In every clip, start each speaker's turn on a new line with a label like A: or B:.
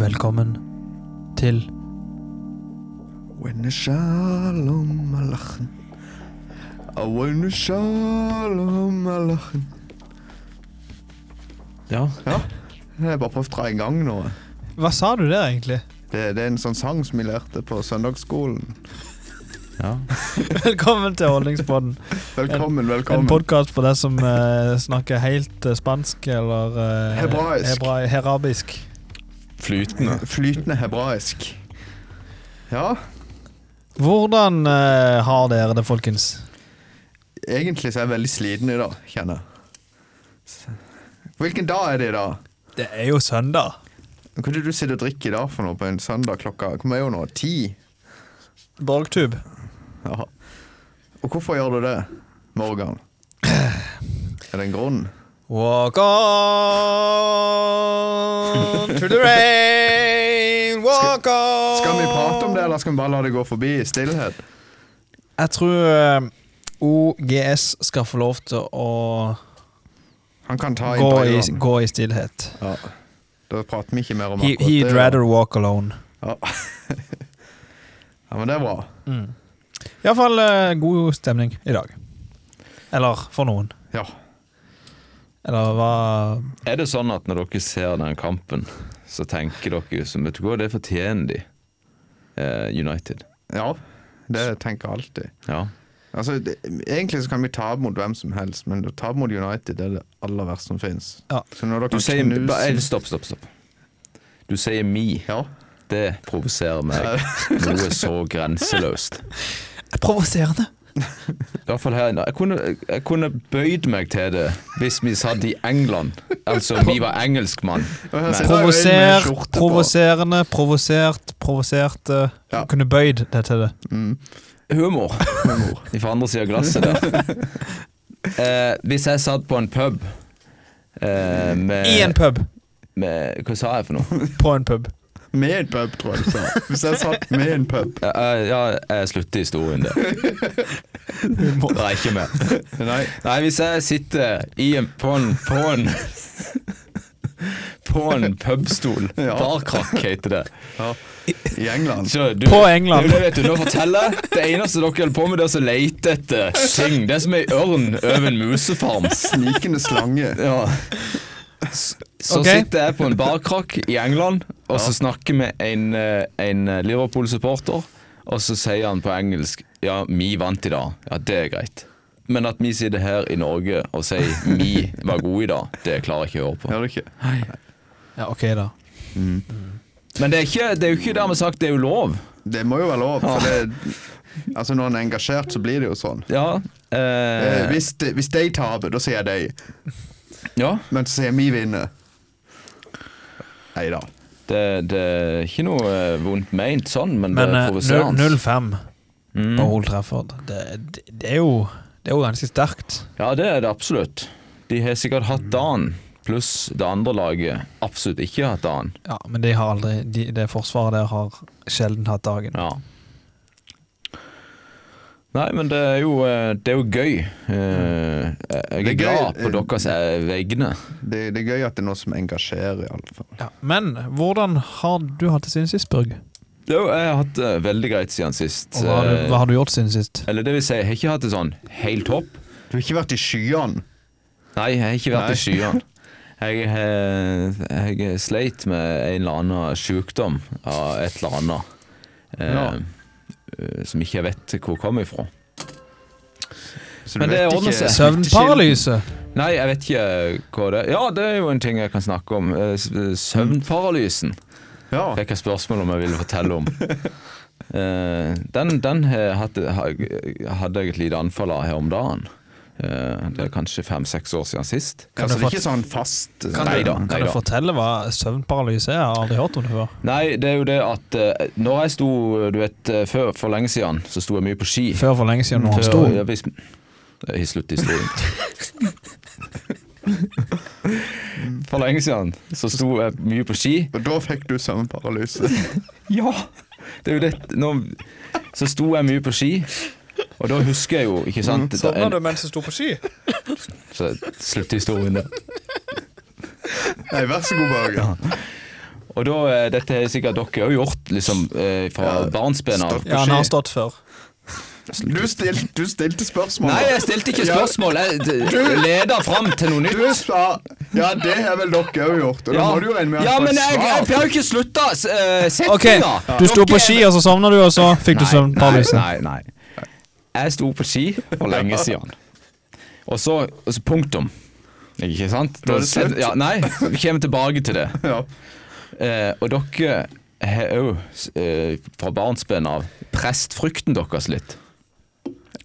A: Velkommen til
B: When a shalom alachen When a shalom alachen
C: Ja.
B: Ja, jeg bare prøvde å dra i gang nå.
A: Hva sa du der, egentlig?
B: Det, det er en sånn sang som vi lærte på søndagsskolen.
C: ja.
A: Velkommen til Holdningspodden.
B: Velkommen,
A: En
B: velkommen.
A: podkast for deg som eh, snakker helt eh, spansk eller eh,
B: Hebraisk.
A: hebra- herabisk.
C: Flytende.
B: Flytende hebraisk. Ja,
A: Hvordan eh, har dere det, folkens?
B: egentlig så er jeg veldig sliten i dag, kjenner jeg. Så- Hvilken dag er det i dag?
A: Det er jo søndag.
B: Hva er det du sitter og drikker i dag for noe på en søndag klokka Hvor mye er det nå? Ti?
A: Borgtube.
B: Ja. Og hvorfor gjør du det, Morgan? Er det en grunn?
A: Walk on to the rain, walk on
B: Skal vi prate om det, eller skal vi bare la det gå forbi i stillhet?
A: Jeg tror eh, OGS skal få lov til å
B: Han kan ta
A: gå i,
B: intervjuene.
A: gå i stillhet.
B: Ja. Da prater vi ikke mer om
A: He, he'd
B: det.
A: rather walk alone.
B: Ja. ja, men det er bra.
A: Iallfall uh, god stemning i dag. Eller for noen.
B: Ja.
A: Eller hva
C: Er det sånn at når dere ser den kampen, så tenker dere som Vet du hva, det fortjener de, eh, United.
B: ja. Det tenker jeg alltid.
C: Ja.
B: Altså, det, egentlig så kan vi tape mot hvem som helst, men å tape mot United det er det aller verste som fins.
A: Ja.
B: Så når
C: Du
B: dere
C: sier
B: knuser-
C: ba- eh, Stopp, stopp, stopp. Du sier me.
B: Ja.
C: Det provoserer meg. Noe så grenseløst.
A: Provoserende!
C: I hvert fall her inne. Jeg kunne, jeg kunne bøyd meg til det hvis vi satt i England. Altså, vi var engelskmann.
B: Og her sitter jeg med
A: Provoser,
B: skjorte på.
A: provoserende, provosert, provoserte
B: Ja.
A: Kunne bøyd det til det.
C: Humor. Humor. Fra andre sida av glasset der. Eh, hvis jeg satt på en pub eh, med,
A: I en pub.
C: med Hva sa jeg for noe?
A: På en pub.
B: Med en pub, tror jeg du sa. Hvis jeg satt med en pub.
C: Ja, eh, ja, jeg slutter historien der. Det er ikke mer.
B: Nei.
C: Nei, hvis jeg sitter i en, på en På en, på en pubstol.
B: Ja.
C: Barkrakk heter det.
B: Ja. I England.
C: Så du-
A: På England.
C: Du vet du, nå forteller jeg. Det eneste dere holder på med, det er å lete etter ting. Det er som ei ørn over en musefarm.
B: Snikende slange.
C: Ja. Så
A: Ok.
C: sitter jeg på en barkrakk i England, og så snakker vi en, eh, en eh, Liverpool-supporter, og så sier han på engelsk Ja, vi vant i dag. Ja, det er greit. Men at vi sitter her i Norge og sier vi var gode i dag, det klarer jeg ikke å høre på.
B: Gjør du ikke?
A: Ja, ok, da.
C: Men det er, ikke, det er jo ikke dermed sagt det er jo lov.
B: Det må jo være lov. For det, altså når en er engasjert, så blir det jo sånn.
C: Ja.
B: Eh,
C: Eh,
B: hvis, de, hvis de taper, da sier jeg de.
C: ja
B: Men så sier vi vinner. Nei da.
C: det, det er ikke noe eh, vondt meint sånn, men,
A: Men
C: det er
A: eh,
C: provoserende.
A: 0-5
B: Mm.
A: på Old Trafford, det, det, det, er jo, det er jo ganske sterkt.
C: Ja, det er det absolutt. De har sikkert hatt dagen, pluss det andre laget absolutt ikke har hatt dagen.
A: Ja, men de har aldri, de, det forsvaret der har sjelden hatt dagen.
C: Ja. Nei, men det er jo, eh, det er jo gøy. Eh, Jeg
B: Det
C: er
B: er gøy,
C: glad på
B: eh,
C: deres eh, vegne.
B: Det, det er gøy at det er noe som engasjerer, i alle fall.
A: Ja, men hvordan har du hatt det siden sist, Børg?
C: Jo, jeg har hatt det veldig greit siden sist.
A: Og hva har, du,
C: Eh,
A: hva har du gjort siden sist?
C: Eller det vil si, jeg har ikke hatt det sånn helt topp.
B: Du har ikke vært i skyene?
C: Nei, jeg har ikke vært i skyene. Jeg, eh, jeg sleit med en eller annen sykdom av et eller annet. Eh,
B: Ja.
C: eh, Som ikke jeg vet hvor kommer ifra.
B: Så
C: Men
B: du
C: det
B: vet
C: ordner
B: ikke-
C: seg.
A: Søvnparalyse?
C: Nei, jeg vet ikke eh, hva det er. Ja, det er jo en ting jeg kan snakke om. Eh, s- Søvnparalysen
B: Ja.
C: fikk jeg spørsmål om jeg ville fortelle om. Eh, Den, den he- hadde, ha- hadde jeg et lite anfall av her om dagen. Eh, Det er kanskje fem-seks år siden sist.
A: Kan
B: altså,
A: du
B: det
A: fort-
B: er ikke sånn fast
A: Kan,
C: Nei
A: du,
C: da, nei
A: kan du
C: da.
A: fortelle hva søvnparalyse er? Jeg har aldri hørt om det før.
C: Nei, det er jo det at eh, når jeg sto Du vet, eh, før, for lenge siden så sto jeg mye på ski.
A: Før for lenge siden når han
C: Før-
A: sto.
C: ja, hvis- Det er slutt i historien. For lenge siden så sto jeg mye på ski.
B: Og da fikk du søvnparalyse.
C: Ja! Det er jo det Nå så sto jeg mye på ski, og da husker jeg jo, ikke sant
B: Mm,
C: da-
A: mens du sto på ski?
C: Så Slutt historien der.
B: Nei, vær så god, Børge.
C: Og da, eh, dette har sikkert dere òg gjort, liksom, eh, fra
B: Ja,
C: barnsben av.
B: stopp.
A: Ja, han har stått før.
B: Du, stil, du stilte spørsmål.
C: Nei, jeg stilte ikke
B: Ja.
C: spørsmål. Jeg d- leder fram til noe nytt.
B: Du sa Ja, det har vel dere òg gjort. Og da må du jo regne med at
C: ja
B: det var
C: men jeg, jeg,
B: svar.
C: jeg har jo ikke slutta uh, setninga.
A: Ok, du sto på ski, og så sovna du, og så fikk du søvn.
C: Nei,
A: paralyse.
C: nei, nei. Jeg sto på ski for lenge siden. Og så, og så punktum. Ikke sant?
B: Da er det slutt.
C: Ja, nei, vi kommer tilbake til det.
B: Ja.
C: Eh, og dere har òg, eh, fra barnsben av, presset frykten deres litt.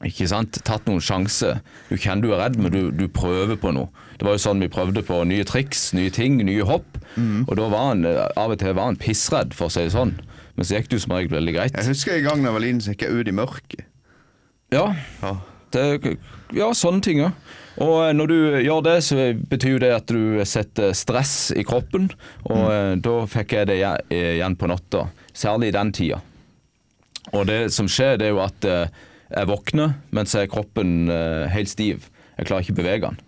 C: Ikke sant? Tatt noen sjanser. Du kjenner du er redd, men du, du prøver på noe. Det var jo sånn vi prøvde på nye triks, nye ting, nye hopp. Og da var han eh, av og til var han pissredd, for å si det sånn. Men så gikk det jo som regel veldig greit.
B: Jeg husker en gang da jeg var liten, så gikk jeg ut i mørket.
C: Ja,
B: Ja.
C: det, ja sånne ting, ja. Og eh, når du gjør det, så betyr jo det at du setter stress i kroppen, og eh, da fikk jeg det igjen- eh, igjen på natta, særlig i den tida. Og det som skjer, det er jo at eh, jeg våkner, men så er kroppen eh, helt stiv. Jeg klarer ikke å bevege den.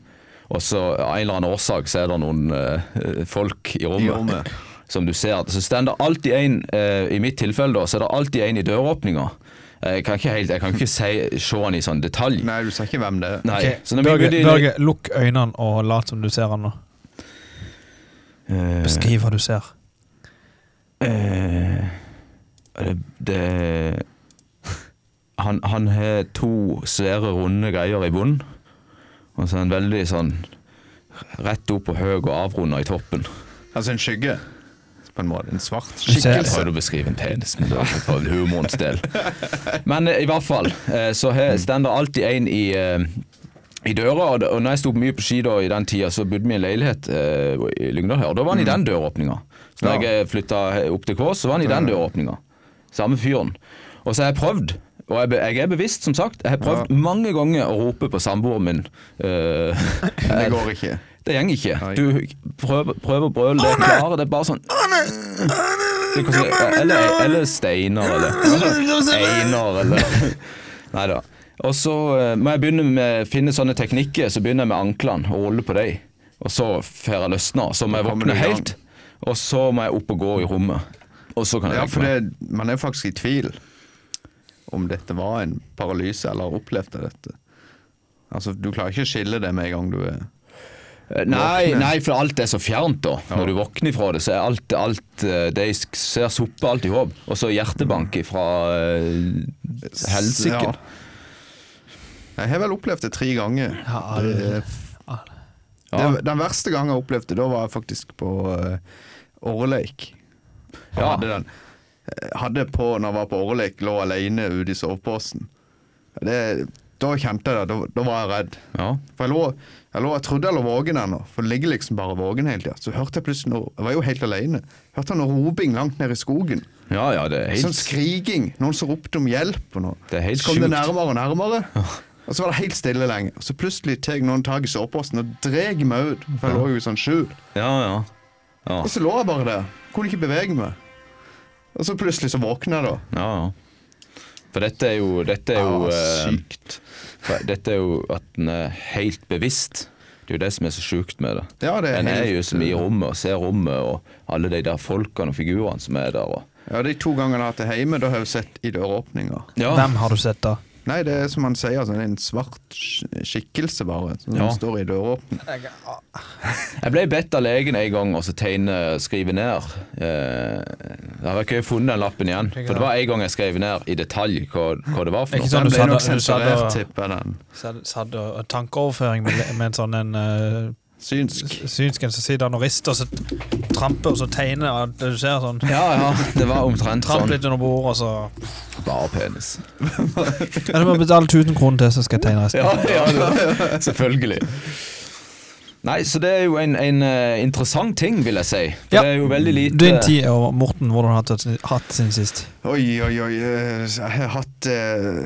C: Og så av en eller annen årsak så er det noen eh, folk i rommet,
B: rommet.
C: som du ser. Så står det alltid en, eh, i mitt tilfelle da, så er det alltid en i døråpninga. Jeg kan ikke, helt, jeg kan ikke si, se han i sånn detalj.
B: Nei, du sa ikke hvem det er.
C: Nei.
A: Ok,
C: Så når vi
A: Børge,
C: begynte inn i-
A: Børge, lukk øynene og lat som du ser han nå.
C: Eh,
A: Beskriv hva du ser.
C: eh, det, det Han, han har to svære, runde greier i bunnen. Og så er han veldig sånn rett opp og høy og avrunda i toppen.
B: Altså en skygge, på en måte. En svart
A: ser-
C: Jeg
B: skikkelse.
C: prøvde å beskrive en penis, men det var for humorens del. Men eh, i hvert fall, eh, så har- står det alltid en i, eh, i døra. Og da- og når jeg sto mye på ski da, i den tida, så bodde vi i en leilighet eh, i Lyngdal her. Og da var han i den døråpninga. Så når
B: Ja.
C: jeg flytta opp til Kvås, så var han i den døråpninga. Samme fyren. Og så har jeg prøvd. Og jeg, be- jeg er bevisst, som sagt. Jeg har prøvd mange ganger å rope på samboeren min. eh,
B: Det går ikke.
C: det går ikke.
B: Nei.
C: Du prøver, prøver å brøle, det klarer det er bare sånn Det kan si- eller, eller Steinar, eller Einar, eller Nei da. Og så eh, må jeg begynne med finne sånne teknikker, så begynner jeg med anklene og holder på dem. Og så får jeg løsna. Så må jeg
B: Kommer du
C: våkne
B: i gang?
C: helt, og så må jeg opp og gå i rommet. Og så kan jeg
B: Ja,
C: legge
B: for
C: meg.
B: det, man er faktisk i tvil om dette var en paralyse, eller har opplevd dette. Altså, du klarer ikke å skille det med en gang du er
C: Nei,
B: våkne.
C: Eh, nei, for alt er så fjernt, da. Når du våkner fra det, så er alt, alt eh, De sk- ser suppe alt i håp. Og så hjertebank fra helsike.
B: Ja. Jeg har vel opplevd det tre ganger.
A: Ja, alle-
B: Det-
C: Ja.
B: det, den verste gangen jeg opplevde det, da var jeg faktisk på eh, Årleik. Jeg
C: Ja.
B: hadde den. Jeg hadde på, når jeg var på Årleik, lå alene ute i soveposen. Det, da kjente jeg det. Da, da var jeg redd.
C: Ja.
B: For jeg lå, jeg lå, jeg trodde jeg lå våken ennå, for jeg ligger liksom bare våken hele tida. Så hørte jeg plutselig noe, jeg var jo helt alene, hørte jeg noe roping langt ned i skogen.
C: ja, ja, det er
B: Sånn
C: helt
B: skriking. Noen som ropte om hjelp og noe.
C: Det er helt
B: så kom det
C: sjukt.
B: nærmere og nærmere. Og så var det helt stille lenge. Og så plutselig tar noen tak i soveposen og drar meg ut, for jeg lå jo i sånn skjul.
C: Ja, ja. Ja,
B: Og så lå jeg bare der. Kunne ikke bevege meg. Og så plutselig så våkna jeg, da.
C: ja. ja. For dette er jo Dette er jo,
B: Ja,
C: eh,
B: Ah, sykt.
C: for dette er jo at en er helt bevisst. Det er jo det som er så sjukt med det.
B: Ja, det er
C: en er
B: helt- eh,
C: jo som i rommet og ser rommet og alle de der folkene og figurene som er der. Og,
B: Ja, De to gangene jeg har hatt det hjemme, da har jeg jo sett i døråpninga.
C: ja.
A: Hvem har du sett da?
B: Nei, det er som han sier, sånn en svart sk- skikkelse bare, som
C: Ja.
B: står i døråpningen.
A: Ah.
C: Jeg ble bedt av legen en gang å så tegne skrive ned. Eh, Jeg har ikke funnet den lappen igjen. For det var en gang jeg skrev ned i detalj hva, hva det var for
A: Ikke
C: noe.
A: sant? du
B: Den ble
A: sa
B: nok
A: da- du sa
B: sensurert,
A: da-
B: tipper jeg den.
A: Satt og tankeoverføring med, med en sånn en eh,
B: Synsk.
A: synsken som sitter han og rister og så tramper og så tegner. og Du ser sånn
C: Ja, ja, det var omtrent
A: Tramp
C: sånn.
A: litt under bordet, og så
C: Bare penis.
A: Ja, du må betale 1000 kroner til, så skal jeg tegne resten.
C: Ja, ja, det- selvfølgelig. Nei, så det er jo en, en eh, interessant ting, vil jeg si. For
A: Ja.
C: Det er jo veldig lite
A: Din tid og Morten, hvordan har du hatt- hatt sin sist?
B: Oi, oi, oi. eh, Jeg har hatt eh,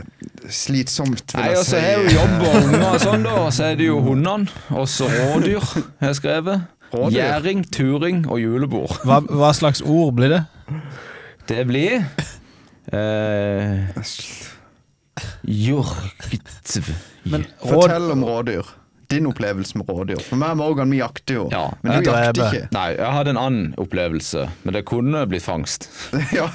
B: slitsomt, vil
C: Nei,
B: jeg
C: og så har jeg jo jobb og unger og sånn, da. Og så er det jo hundene. Og så rådyr, har jeg skrevet.
B: Rådyr?
C: Gjæring, turing og julebord.
A: Hva, hva slags ord blir det?
C: Det blir eh, Jorgtv.
A: Men råd,
B: Fortell om rådyr. din opplevelse med rådyr. For meg og Morgan, vi jakter jo.
C: Ja,
B: men du
A: jeg
B: jakter
A: dreper.
B: ikke.
C: Nei, jeg hadde en annen opplevelse, men det kunne blitt fangst. Eh,
B: ja.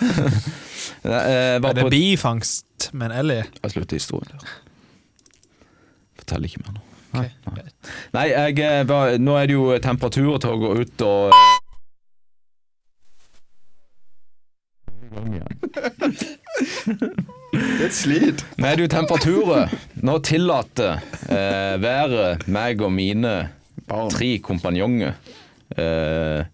C: Jeg var
A: Er det
C: på
A: bifangst med en elg?
C: Jeg slutter historien der. Fortell ikke mer nå.
A: Ok.
C: Nei, jeg eh, var, nå er det jo temperaturer til å gå ut og
B: Det er et slit.
C: Nå er det jo temperaturer. Nå tillater eh, været meg og mine
B: Barn.
C: tre kompanjonger eh,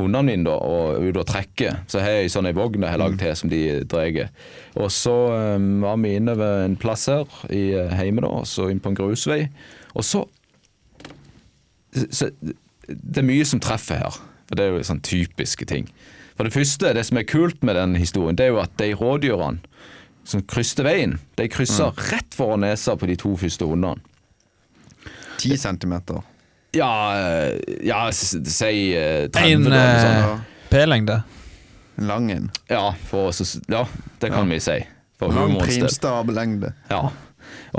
C: hundene mine da, og ut og trekke. Så har jeg sånn ei vogn jeg har lagd til som de drar. Og så eh, var vi inne ved en plass her i eh, heime da, og så inn på en grusvei. Og så, så Det er mye som treffer her. For det er jo sånn typiske ting. For det første, det som er kult med den historien, det er jo at de rådyrene som krysser veien, de krysser rett foran nesa på de to første hundene.
B: Ti centimeter.
C: Ja, eh, ja s- si eh, 30
A: En
C: da, eller sånn.
A: eh, p-lengde.
B: En lang en.
C: Ja, for, oss å s- ja, det kan vi si. For
B: Lang
C: humorens del.
B: primstabelengde.
C: Ja.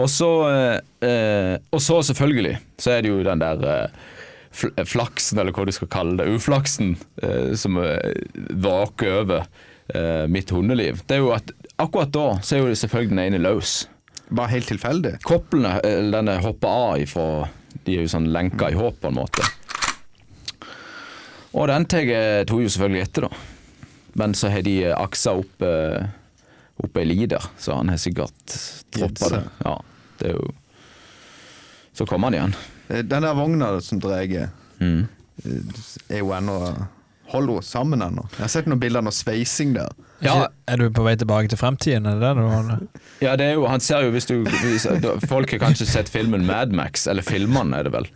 C: Og så, eh, eh, og så selvfølgelig, så er det jo den der eh, fl- eh, flaksen, eller hva du skal kalle det, uflaksen, eh, som eh, vaker over eh, mitt hundeliv. Det er jo at akkurat da så er jo selvfølgelig den ene løs.
B: Bare helt tilfeldig.
C: Koplene, eller denne hopper av ifra De er jo sånn lenka i håp på en måte Og den tar jeg tog jo selvfølgelig etter da Men så har de eh, aksa opp eh, Opp ei li der Så han har sikkert troppa det
B: Gjedse.
C: Ja, det er jo Så kommer han igjen
B: Eh, Den der vogna som dreier,
C: mm.
B: er jo ennå Holder jo sammen ennå. Jeg har sett noen bilder av noe sveising der.
C: Ja.
A: Er du på vei tilbake til fremtiden? Er det det du holder?
C: Ja, det er jo, han ser jo hvis du hvis, da- Folk har kanskje sett filmen Mad Max Eller filmene er det vel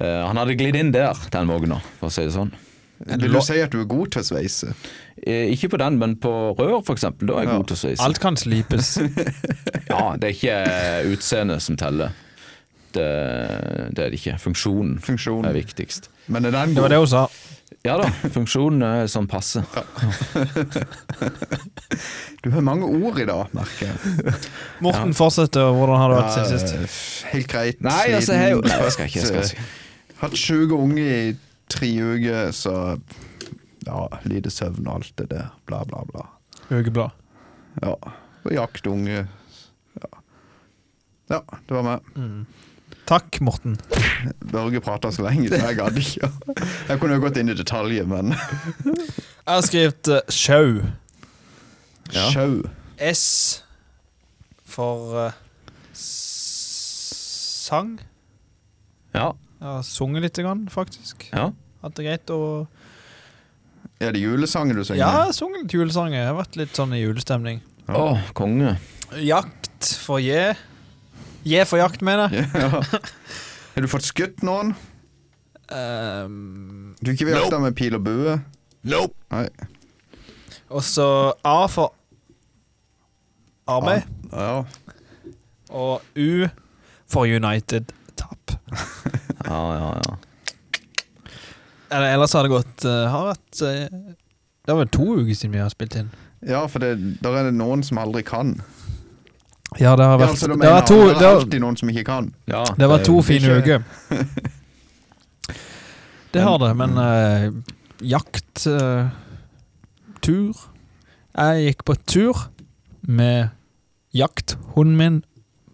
C: Eh, Han hadde glidd inn der, den vogna For å si det sånn
B: Vil du si at du er god til å sveise?
C: Eh, Ikke på den, men på rør for eksempel. Da er jeg
B: Ja.
C: god til å sveise.
A: Alt kan slipes.
C: Ja, det er ikke utseendet som teller. Det, det er det ikke. Funksjonen
B: Funksjonen.
C: er viktigst.
B: Men er den
A: Det var det
B: god?
A: hun sa.
C: Ja da, funksjonen er sånn passe.
B: Du har mange ord i dag, merker jeg.
A: Morten, fortsette. Hvordan har det vært siden sist?
B: Ja, eh, Helt greit.
C: Nei, altså, jeg,
B: sliten.
C: nei, jeg skal ikke. Jeg skal ikke.
B: Hatt sjuke unge i tre uker, så Ja, lite søvn og alt det der. Bla, bla, bla.
A: Ukeblad.
B: Ja. Og jakt unge. Ja. ja, det var meg.
A: Takk, Morten.
B: Børge prata så lenge, så jeg gadd ikke. Jeg kunne jo gått inn i detaljer, men
A: Jeg har skrevet eh, sjau.
B: ja.
A: S for eh, s- sang.
C: Ja,
A: Jeg har sunget litt, grann, faktisk.
C: ja.
A: Hatt det greit. Og
B: Er det julesangen du synger?
A: ja, jeg har sunget litt julesanger. Jeg har vært litt sånn i julestemning.
B: Ja.
C: Å, konge.
A: Jakt for J. J for jakt, mener jeg.
B: Ja. Har du fått skutt noen?
A: Ehm,
B: Du har ikke jakta med pil og bue?
C: Nope.
B: Nei.
A: og så A for arbeid.
B: Ja.
A: Og U for United tap.
C: Ja, ja, ja.
A: Eller ellers har det gått eh, Har vært eh, Det var vel to uker siden vi har spilt inn.
B: ja, for det, der er det noen som aldri kan.
A: Ja, det har
B: Ja,
A: vært
B: altså, du
A: Det
B: mener
A: var to,
B: alle-
A: det var,
B: alltid noen som ikke kan.
C: ja
A: det var to fine
B: ikke-
A: uker. Det har det, men eh, jakt eh, Tur Jeg gikk på tur med jakthunden min,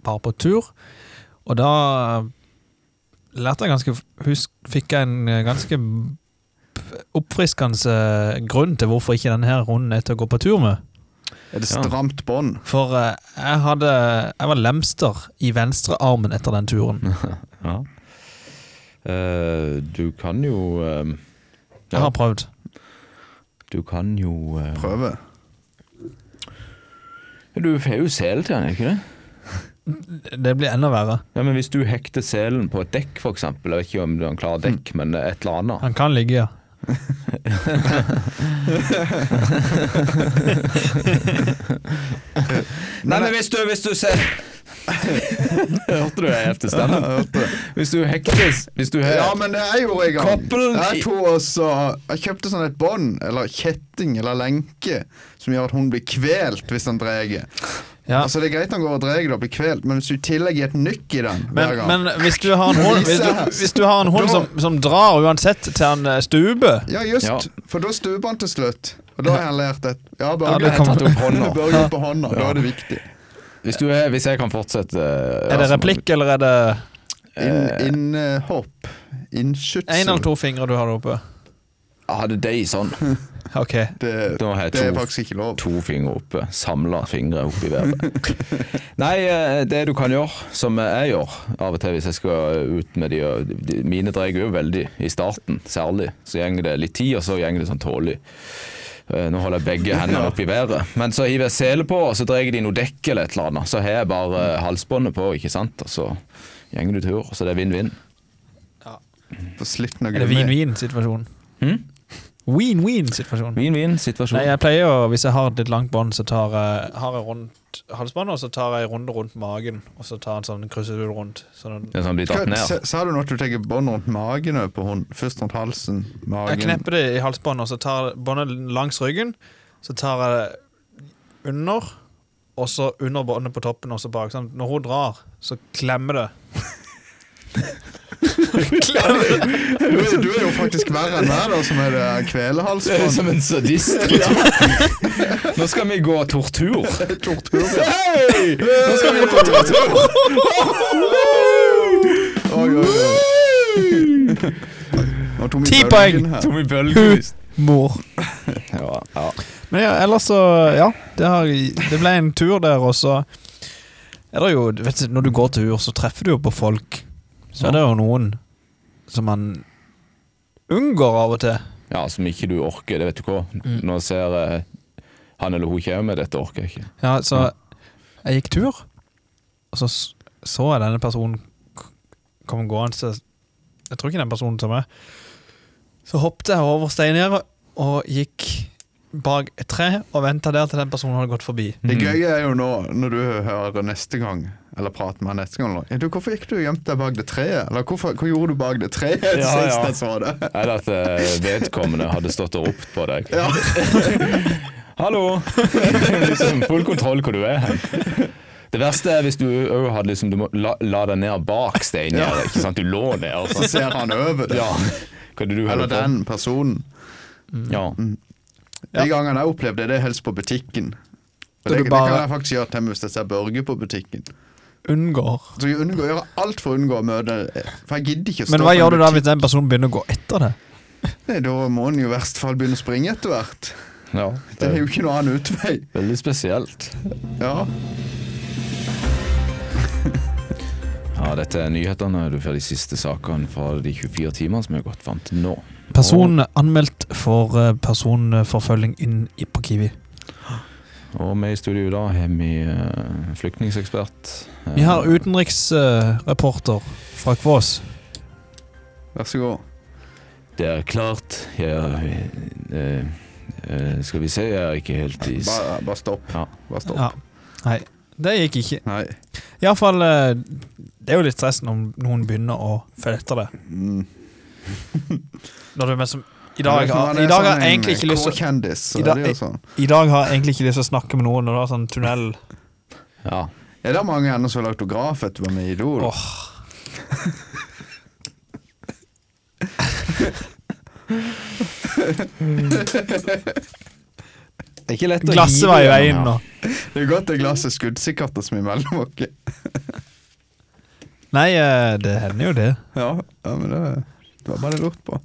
A: bare på tur, og da lærte jeg ganske husk, Fikk jeg en eh, ganske oppfriskende eh, grunn til hvorfor ikke denne her hunden er til å gå på tur med.
B: Er det
C: Ja.
B: stramt bånd?
A: For eh, jeg hadde Jeg var lemster i venstrearmen etter den turen.
C: Ja. Eh, du kan jo eh,
A: Jeg har prøvd.
C: Du kan jo eh,
B: Prøve.
C: Du får jo sel til den, ikke det?
A: Det blir enda verre.
C: Ja, men Hvis du hekter selen på et dekk, for eksempel Jeg vet ikke om det er en klar dekk, men et eller annet.
A: Han kan ligge, ja.
C: Nei, men hvis du, hvis du ser Hørte du jeg heftet stemmen? Hvis du hektes Hvis du
B: Ja, men det er jo i gang.
C: Koppelen i-
B: Jeg, tror også, jeg kjøpte sånn et bånd, eller kjetting, eller lenke, som gjør at hun blir kvelt hvis han dreier.
A: Ja.
B: Altså Det er greit han går og drar og blir kvelt, men hvis du i tillegg gir et nykk i den hver
A: Men,
B: gang
A: men hvis du har en hund, hvis du, hvis du har en hund som, som drar uansett til han eh, stuper
B: Ja, just,
C: Ja.
B: for da stuper han til slutt. Og da har han lært et Ja,
A: Ja,
B: Børge
A: det
B: har
A: kommer
B: tatt
A: til å-
B: opp hånda. Børge opp på hånda, da
C: Ja.
B: er det viktig.
C: Hvis, du er, hvis jeg kan fortsette eh,
A: Er det
C: altså,
A: replikk, eller er det
B: Innhopp. In, eh, hopp.
A: én eller
B: Innskytsel.
A: to fingre du har der oppe?
C: Hadde de sånn,
A: Ok.
B: Det,
C: da har jeg
B: det er
C: to
B: faktisk ikke lov.
C: To fingre oppe, samla fingre oppe i været. Nei, eh, det du kan gjøre, som jeg gjør av og til hvis jeg skal ut med de, og de Mine dreier jo veldig i starten, særlig. Så gjenger det litt tid, og så gjenger det sånn tålelig. Eh, Nå holder jeg begge hendene oppe i været. Men så hiver jeg sele på, og så dreier de noe dekk eller et eller annet. Så har jeg bare eh, halsbåndet på, ikke sant. Og så gjenger du tur. Så det er vinn-vinn.
B: Forslitten og
A: Er det
B: gummi.
A: vin-vin-situasjonen?
C: Hm?
A: Win-win-situasjonen.
C: Vin-vin-situasjon.
A: Nei, jeg pleier å, hvis jeg har et litt langt bånd, så tar jeg, har jeg rundt halsbåndet, og så tar jeg en runde rundt magen, og så tar jeg en sånn krusedull rundt. Sånn at
C: Det er sånn blir dratt
B: Hva-
C: ned.
B: Sa sa du nå at du tar bånd rundt magen også på hund? Først rundt halsen,
A: Jeg
B: magen
A: knepper det i halsbåndet, og så tar jeg båndet langs ryggen. Så tar jeg det under, og så under båndet på toppen og så bak. Sånn. Når hun drar, så klemmer det. klemmer det.
B: du, er- du er jo faktisk verre enn meg, da, som er det
C: Det er som
B: kvelehalsbånd.
C: en sadist. Nå skal vi gå tortur.
B: Tortur.
C: Hei! Nå skal vi på tortur!
B: Oi, oi, oi. Nå tok vi
A: Ti
B: bølgen
A: poeng.
B: her.
C: Tommy Bølgevist.
A: Mor.
C: Ja, ja.
A: Men ja, ellers så Ja, det, har, det ble en tur der, og så er det jo vet du, Når du går tur, så treffer du jo på folk. Så er det jo noen som man unngår av og til.
C: ja, som ikke du orker, det vet du hva. Nå ser jeg han eller hun kommer med dette orker jeg ikke.
A: Ja, så jeg gikk tur, og så s- så jeg denne personen k- komme gående. Så jeg tror ikke den personen som meg. Så hoppet jeg over steingjerdet og gikk bak et tre og venta der til den personen hadde gått forbi.
B: Det gøye er jo nå, når du hører neste gang, eller prater med han neste gang da, ja, du, Hvorfor gikk du og gjemte deg bak det treet? Eller hvorfor, hva gjorde du bak det treet
C: Ja, ja.
B: sist jeg så det?
C: Er det at eh, vedkommende hadde stått og ropt på deg? Hallo! liksom, full kontroll hvor du er hen. Det verste er hvis du òg hadde liksom, Du må la, la deg ned bak steingjerdet, ikke sant. Du lå ned. og
B: Så
C: sånn.
B: ser han over det.
C: Ja. Hva er det du
B: Eller Mm.
C: holder på med?
B: den personen.
C: Ja.
B: De gangene jeg opplevde det, det er helst på butikken. For
A: Så
B: det,
A: du
B: det
A: bare-
B: kan jeg faktisk gjøre til meg hvis jeg ser Børge på butikken.
A: Unngår.
B: Så jeg unngår, gjør alt for å unngå å møte For jeg gidder ikke å
A: Men hva gjør du da hvis den personen begynner å gå etter deg?
B: Nei, Da må en jo i verste fall begynne å springe etter hvert.
C: ja.
B: Det er jo ikke noen annen utvei.
C: Veldig spesielt.
B: Ja.
C: Ja, Dette er nyhetene du får de siste sakene fra de 24 timene som vi har gått fram til nå.
A: Personen er anmeldt for eh, personforfølging inn i- på Kiwi.
C: Og med i studio i dag har vi eh, flyktningsekspert. eh,
A: Vi har utenriksreporter fra Kvås.
B: Vær så god.
C: Det er klart jeg, eh, eh, Skal vi se, jeg er ikke helt i s-
B: Bare, bare stopp.
C: Ja.
B: Bare stopp.
A: Ja. Nei, det gikk ikke.
B: Nei.
A: Iallfall eh, Det er jo litt stress når noen begynner å følge etter det.
B: Mm.
A: Når du er med som, i, dag, har- I dag har jeg egentlig ikke lyst til
B: K-kjendis, så
A: I
B: er
A: dag-
B: det jo sånn.
A: I dag har jeg egentlig ikke lyst til å snakke med noen når du har sånn tunnel.
C: Ja.
B: Er det mange gjerne som har autograf etter å være med i Idol?
A: Åh.
C: Det er ikke lett
A: Glasset var i veien nå.
B: Det er godt det glasset er skuddsikkert og som er imellom oss.
A: Nei, eh, det hender jo det.
B: Ja, ja, men det, det var bare det jeg lurte på.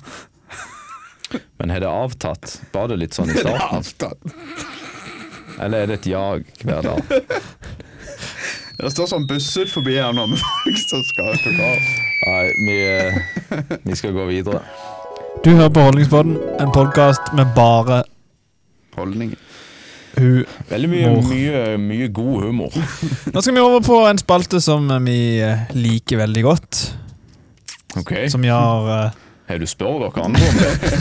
C: Men har det avtatt? Var det litt sånn i
B: Det er
C: starten?
B: avstand.
C: Eller er det et jag hver dag?
B: Det står sånn busser forbi her nå med folk som skal ha autograf.
C: Nei, vi, eh, vi skal gå videre.
A: Du hører på Holdningspodden, en podkast med bare
B: Holdning.
A: hun.
C: Veldig mye,
A: Mor.
C: mye, mye god humor.
A: Nå skal vi over på en spalte som vi eh, liker veldig godt.
C: Ok,
A: Som gjør eh,
C: Har du spør dere andre om det?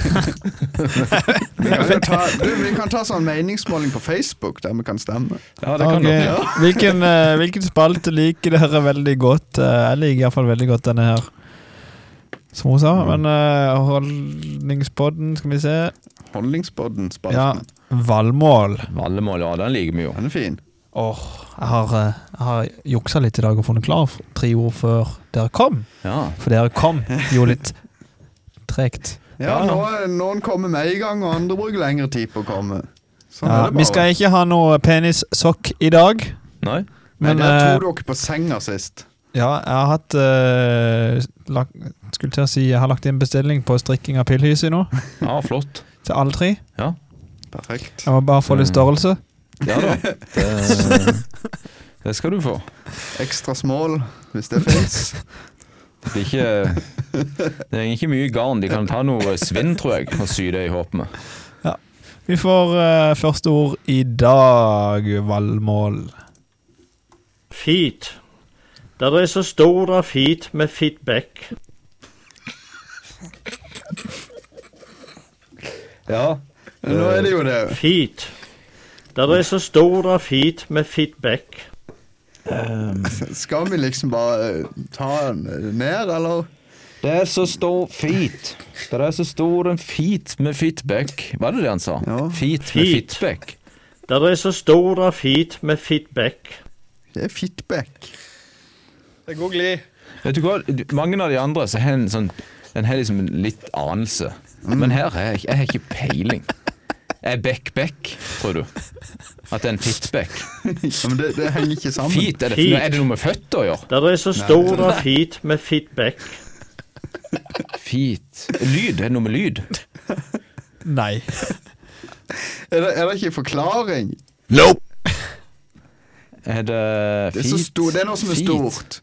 B: Vi kan, jo ta, du, vi kan ta sånn meningsmåling på Facebook der vi kan stemme.
C: Ja, det kan
A: Ok,
C: dere.
A: Hvilken, eh, hvilken spalte liker dere veldig godt? Eh, jeg liker iallfall veldig godt denne her. Som hun sa.
B: Mm.
A: Men eh, holdningspodden, skal vi se
B: Holdningspodden
A: Ja,
B: spalten
A: Valmål.
C: Vallemål, ja, den liker vi jo.
B: Den er fin.
A: Åh, jeg har, eh, jeg har juksa litt i dag og funnet klar f- tre ord før dere kom.
C: Ja.
A: For dere kom jo litt tregt.
B: Ja,
C: Ja.
B: nå, noen kommer med i gang, og andre bruker lengre tid på å komme. Sånn
A: Ja,
B: er det bare.
A: vi skal ikke ha noe penissokk i dag.
C: Nei?
B: Nei,
A: Men
B: der
A: eh,
B: tok dere på senga sist.
A: ja, jeg har hatt eh, lagt, Skulle til å si jeg har lagt inn bestilling på strikking av pillhyse nå.
C: Ja, flott.
A: Til alle tre.
B: Perfekt.
A: Jeg må bare få litt
C: Mm.
A: størrelse.
C: Ja da. Det, eh, det skal du få.
B: Ekstra small, hvis det fins.
C: Det blir ikke Det er ikke mye garn. De kan ta noe svinn, tror jeg, og sy det i håp med.
A: Vi får eh, første ord i dag, Valmål.
D: Feed. Der er så stor feed med feedback.
C: Ja.
B: Nå er det jo det.
D: Feed. Der er så stor feed med feedback.
B: Skal vi liksom bare eh, ta den ned, eller?
C: Det er så stor feet. Det er så stor en feet med feedback. Var det det han sa?
B: Ja.
C: Feet med
D: Feet.
C: feedback.
D: Der er så stor feed med feedback.
B: Det er feedback.
A: Det går glid.
C: Vet du hva, mange av de andre så har en sånn En har liksom en litt anelse. Men her har jeg, jeg har ikke peiling. Er back-back, tror du? At det er en feedback?
B: Ja, men det, det henger ikke sammen.
C: Feet, er det,
D: Feet.
C: er det noe med føtter å gjøre?
D: Der er så stor feed med feedback.
C: Feet Lyd, er det noe med lyd?
A: Nei.
B: Er det, er det ikke forklaring?
C: Er det feet?
B: Det er, så stor, det er noe som er
C: Feet.
B: stort.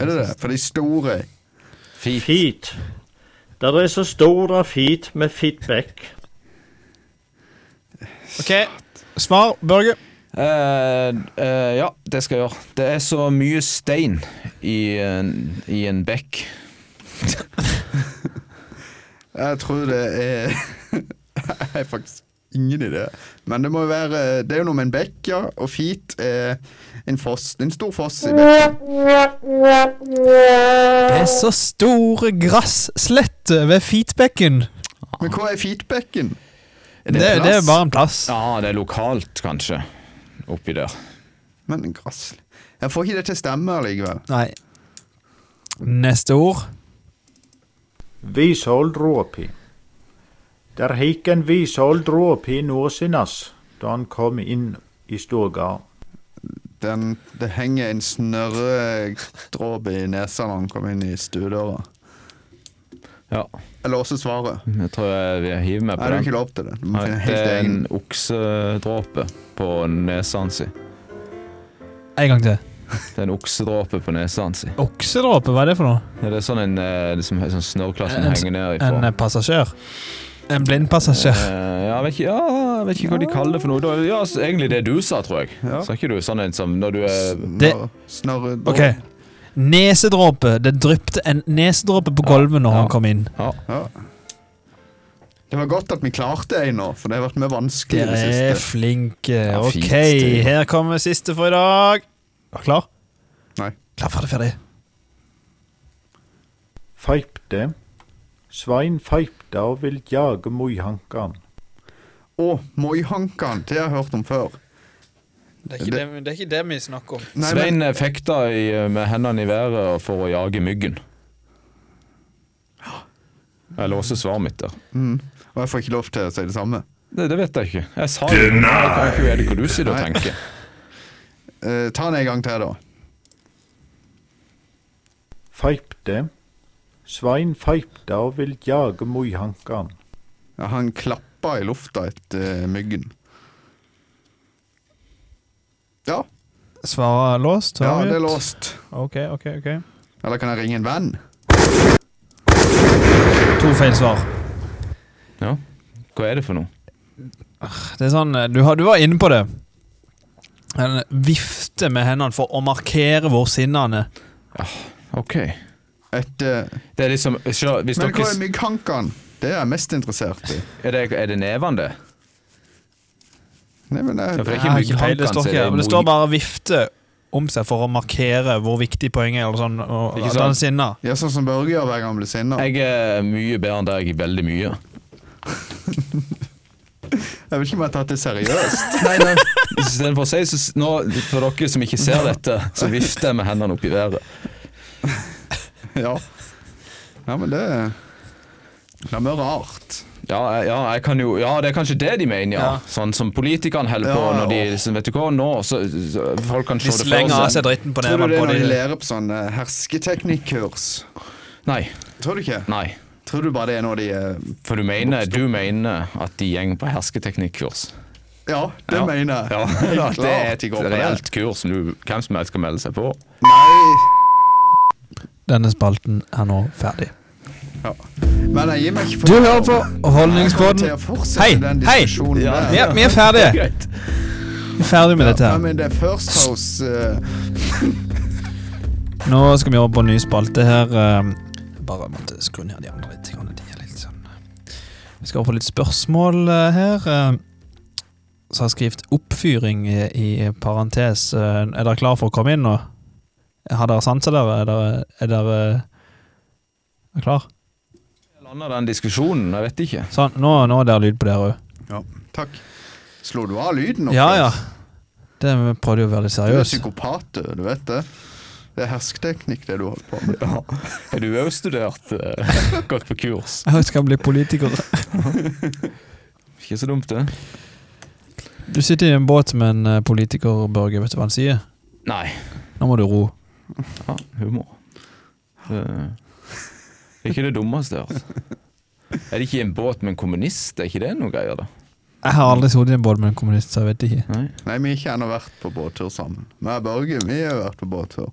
B: Er det det? For de store.
C: Feet.
D: Feed. Der er så stor feed med feedback.
A: OK. Svar, Børge.
C: Eh, eh, ja, det skal jeg gjøre. Det er så mye stein i en, i en bekk.
B: Jeg tror det er Jeg har faktisk ingen idé. Men det må jo være Det er jo noe med en bekk, ja. Og feet er en foss. En stor foss i bekken.
A: Det er så store grassletter ved feetbekken.
B: Men hva er feetbekken?
A: Det, det, er
B: en plass?
A: bare en plass.
C: Ja, det er lokalt, kanskje. Oppi der.
B: Men en grass Jeg får ikke det til å stemme allikevel.
A: Nei. Neste ord.
E: Visholddråpi. Der gikk en visholddråpi nåsinnas da han kom inn i storgard.
B: Den, det henger en snørredråpe i nesa når han kommer inn i stuedøra.
C: Ja,
B: Jeg låser svaret.
C: jeg tror jeg vi hiver
B: Nei,
C: meg på
B: du har
C: den.
B: ikke lov til det. Du må
C: Nei,
B: finne
C: det
B: helt
C: er
B: egen.
C: en oksedråpe på nesa si.
A: En gang til.
C: Det er en oksedråpe på nesa si.
A: Oksedråpe, hva er det for noe?
C: Ja, det er sånn en eh, liksom, en sånn snørrklatt som
A: En-
C: henger ned ifra.
A: En eh, passasjer. En blind passasjer.
C: Eh, ja, jeg vet ikke, ja, jeg vet ikke hva de kaller det for noe. Da, ja, så egentlig det du sa, tror jeg.
B: Ja.
C: Sa ikke du sånn en som når du
B: eh,
C: er
A: Det-
B: Snørredråpe.
A: OK. Nesedråpe. Det dryppte en nesedråpe på gulvet når
C: Ja.
A: han kom inn.
B: Ja. Det var godt at vi klarte en nå, for det har vært mye vanskelig i
A: Dere
B: det
A: er
B: siste.
A: flinke.
C: Ja,
A: OK,
C: fint, det.
A: her kommer siste for i dag. Er du klar?
B: Nei.
A: Klar, ferdig, ferdig.
E: Feipte. Svein feipte og vil jage moihankan.
B: Å, Moihankan, det har jeg hørt om før.
A: Det
B: ikke det-
A: er ikke det vi snakker om.
B: Nei, men,
C: Svein eh, fekta i, med hendene i været for å jage myggen. Jeg låser svaret mitt der.
B: og jeg får ikke lov til å si det samme.
C: Det, det vet jeg ikke. Jeg sa jo noe. Jeg kan ikke vite hva du sier og
B: Nei.
C: tenker.
B: Eh, ta den en gang til, da.
E: Feipte. Svein feipte og vil jage moihankan.
B: Ja, han klappa i lufta etter myggen. Ja,
A: Svaret er låst?
B: ja,
A: har vi
B: det er
A: gjort?
B: låst.
A: Ok, ok, ok.
B: Eller kan jeg ringe en venn?
A: To feil svar.
C: Ja. Hva er det for noe?
A: Det er sånn, eh, du, har, du var inne på det. Han vifter med hendene for å markere hvor sinna han er.
C: Ok.
B: Et, eh,
C: Det er liksom sjå, hvis
B: men
C: dere,
B: hva er mygghankan? Det er jeg mest interessert i.
C: er, det, er det neven, det?
B: Nei, men eh,
C: Ja, for det
A: Jeg
B: jeg,
C: er ikke
A: har Ah, ikke peiling,
B: altså,
C: mygghanken,
A: det står
C: så
A: ikke her,
C: er
A: men det
C: moi-
A: står bare 'vifte' om seg for å markere hvor viktig poenget er. Eller sånn, og,
C: Ikke
A: at han er
C: sant?
A: sinna.
B: ja, sånn som Børge gjør hver gang han blir sinna.
C: Jeg er mye bedre enn deg i veldig mye.
B: Jeg vet ikke om jeg har tatt det seriøst.
C: Nei, nei. Istedenfor å si så s- nå, For dere som ikke ser dette, så vifter jeg med hendene opp i været.
B: Ja, ja men det Det er mye rart.
C: Ja, jeg- ja, jeg kan jo, ja, det er kanskje det de mener, ja.
A: Ja.
C: Sånn som politikerne holder på
B: Ja,
C: når de liksom, Vet du hva, nå så, så, Folk kan
A: De
C: se det for
A: slenger av seg
C: seg.
A: dritten på
B: Tror du
A: neven
B: det
A: på
B: er når de
A: de
B: lærer på sånn eh, hersketeknikkurs?
C: Nei.
B: Tror du ikke?
C: nei
B: Tror du bare det er når de eh,
C: For du mener, du mener at de går på hersketeknikkurs?
B: Ja, det
C: Ja.
B: mener jeg.
C: Ja,
B: Helt
C: at det er
B: klart
C: et
B: de går på det.
C: reelt kurs som du, hvem som helst kan melde seg på.
B: Nei.
A: Denne spalten er nå ferdig.
B: Ja. Men jeg gir meg ikke
A: Du hører på
B: Jeg kommer til å
A: Holdningspodden.
B: fortsette
A: Hei,
B: den
A: hei!
B: diskusjonen
A: Vi
B: der.
A: er, vi er ferdige.
C: Greit.
A: Vi er ferdige med dette
B: Ja,
A: her.
B: men det er First House eh,
A: Nå skal vi over på en ny spalte her. ehm, Jeg bare måtte skru ned de andre litt. grann, De er litt sånn. Vi skal over på litt spørsmål eh, her. ehm. Så har jeg skrevet 'oppfyring' i i parentes. Eh, Er dere klare for å komme inn nå? Har dere sanser dere? Er dere, er dere er dere klar?
C: Landa den diskusjonen, jeg vet ikke.
A: Sånn, nå, nå er det lyd på dere òg.
B: Ja, takk. Slo du av lyden nå?
A: Ja, ja. Det vi prøvde jo å være litt
B: Du er
A: seriøs.
B: psykopat, du. Du vet det. Det er hersketeknikk, det du holder på med.
C: Har du òg studert? eh, gått på kurs?
A: Jeg skal bli politiker.
C: Ikke så dumt, det.
A: Du sitter i en båt med en eh, politiker, Børge. Vet du hva han sier?
C: Nei.
A: Nå må du ro.
C: Ja, humor. Det det er ikke det dummeste altså. jeg har hørt. Er det ikke i en båt med en kommunist? Er ikke det noe greier, da?
A: Jeg har aldri sittet i en båt med en kommunist, så jeg vet ikke.
C: Nei.
B: Nei, vi har ikke ennå vært på båttur sammen. Vi og Børge vi har vært på båttur.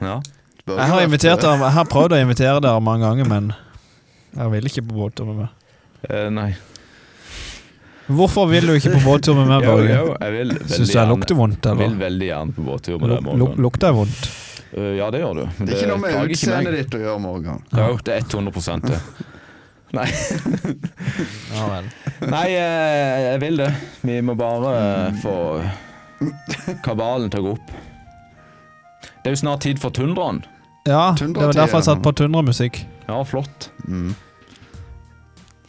C: Ja.
B: Børge
A: Jeg har,
B: vært
A: invitert
B: på det.
A: dere, jeg har prøvd å invitere dere mange ganger, men jeg vil ikke på båttur med meg.
C: Eh, nei.
A: Hvorfor vil du ikke på båttur med meg,
C: Jo,
A: Børge?
C: jo, jeg vil veldig
A: Syns du jeg
C: gjerne-
A: lukter vondt,
C: Jeg vil
A: eller?
C: veldig gjerne på båttur med deg,
A: Luk, luk,
C: Morgan.
A: lukter jeg vondt?
C: Eh, ja, det gjør du. men
B: Det er ikke noe
C: plager
B: med
C: ikke meg.
B: utseendet ditt å gjøre, Morgan.
C: Jo, det er 100 det. Nei.
A: Ja vel.
C: Nei, eh, jeg vil det. Vi må bare eh, få kabalen til å gå opp. Det er jo snart tid for tundraen.
A: Ja, det var derfor jeg satte på tundramusikk.
C: Ja, flott.
B: Mm.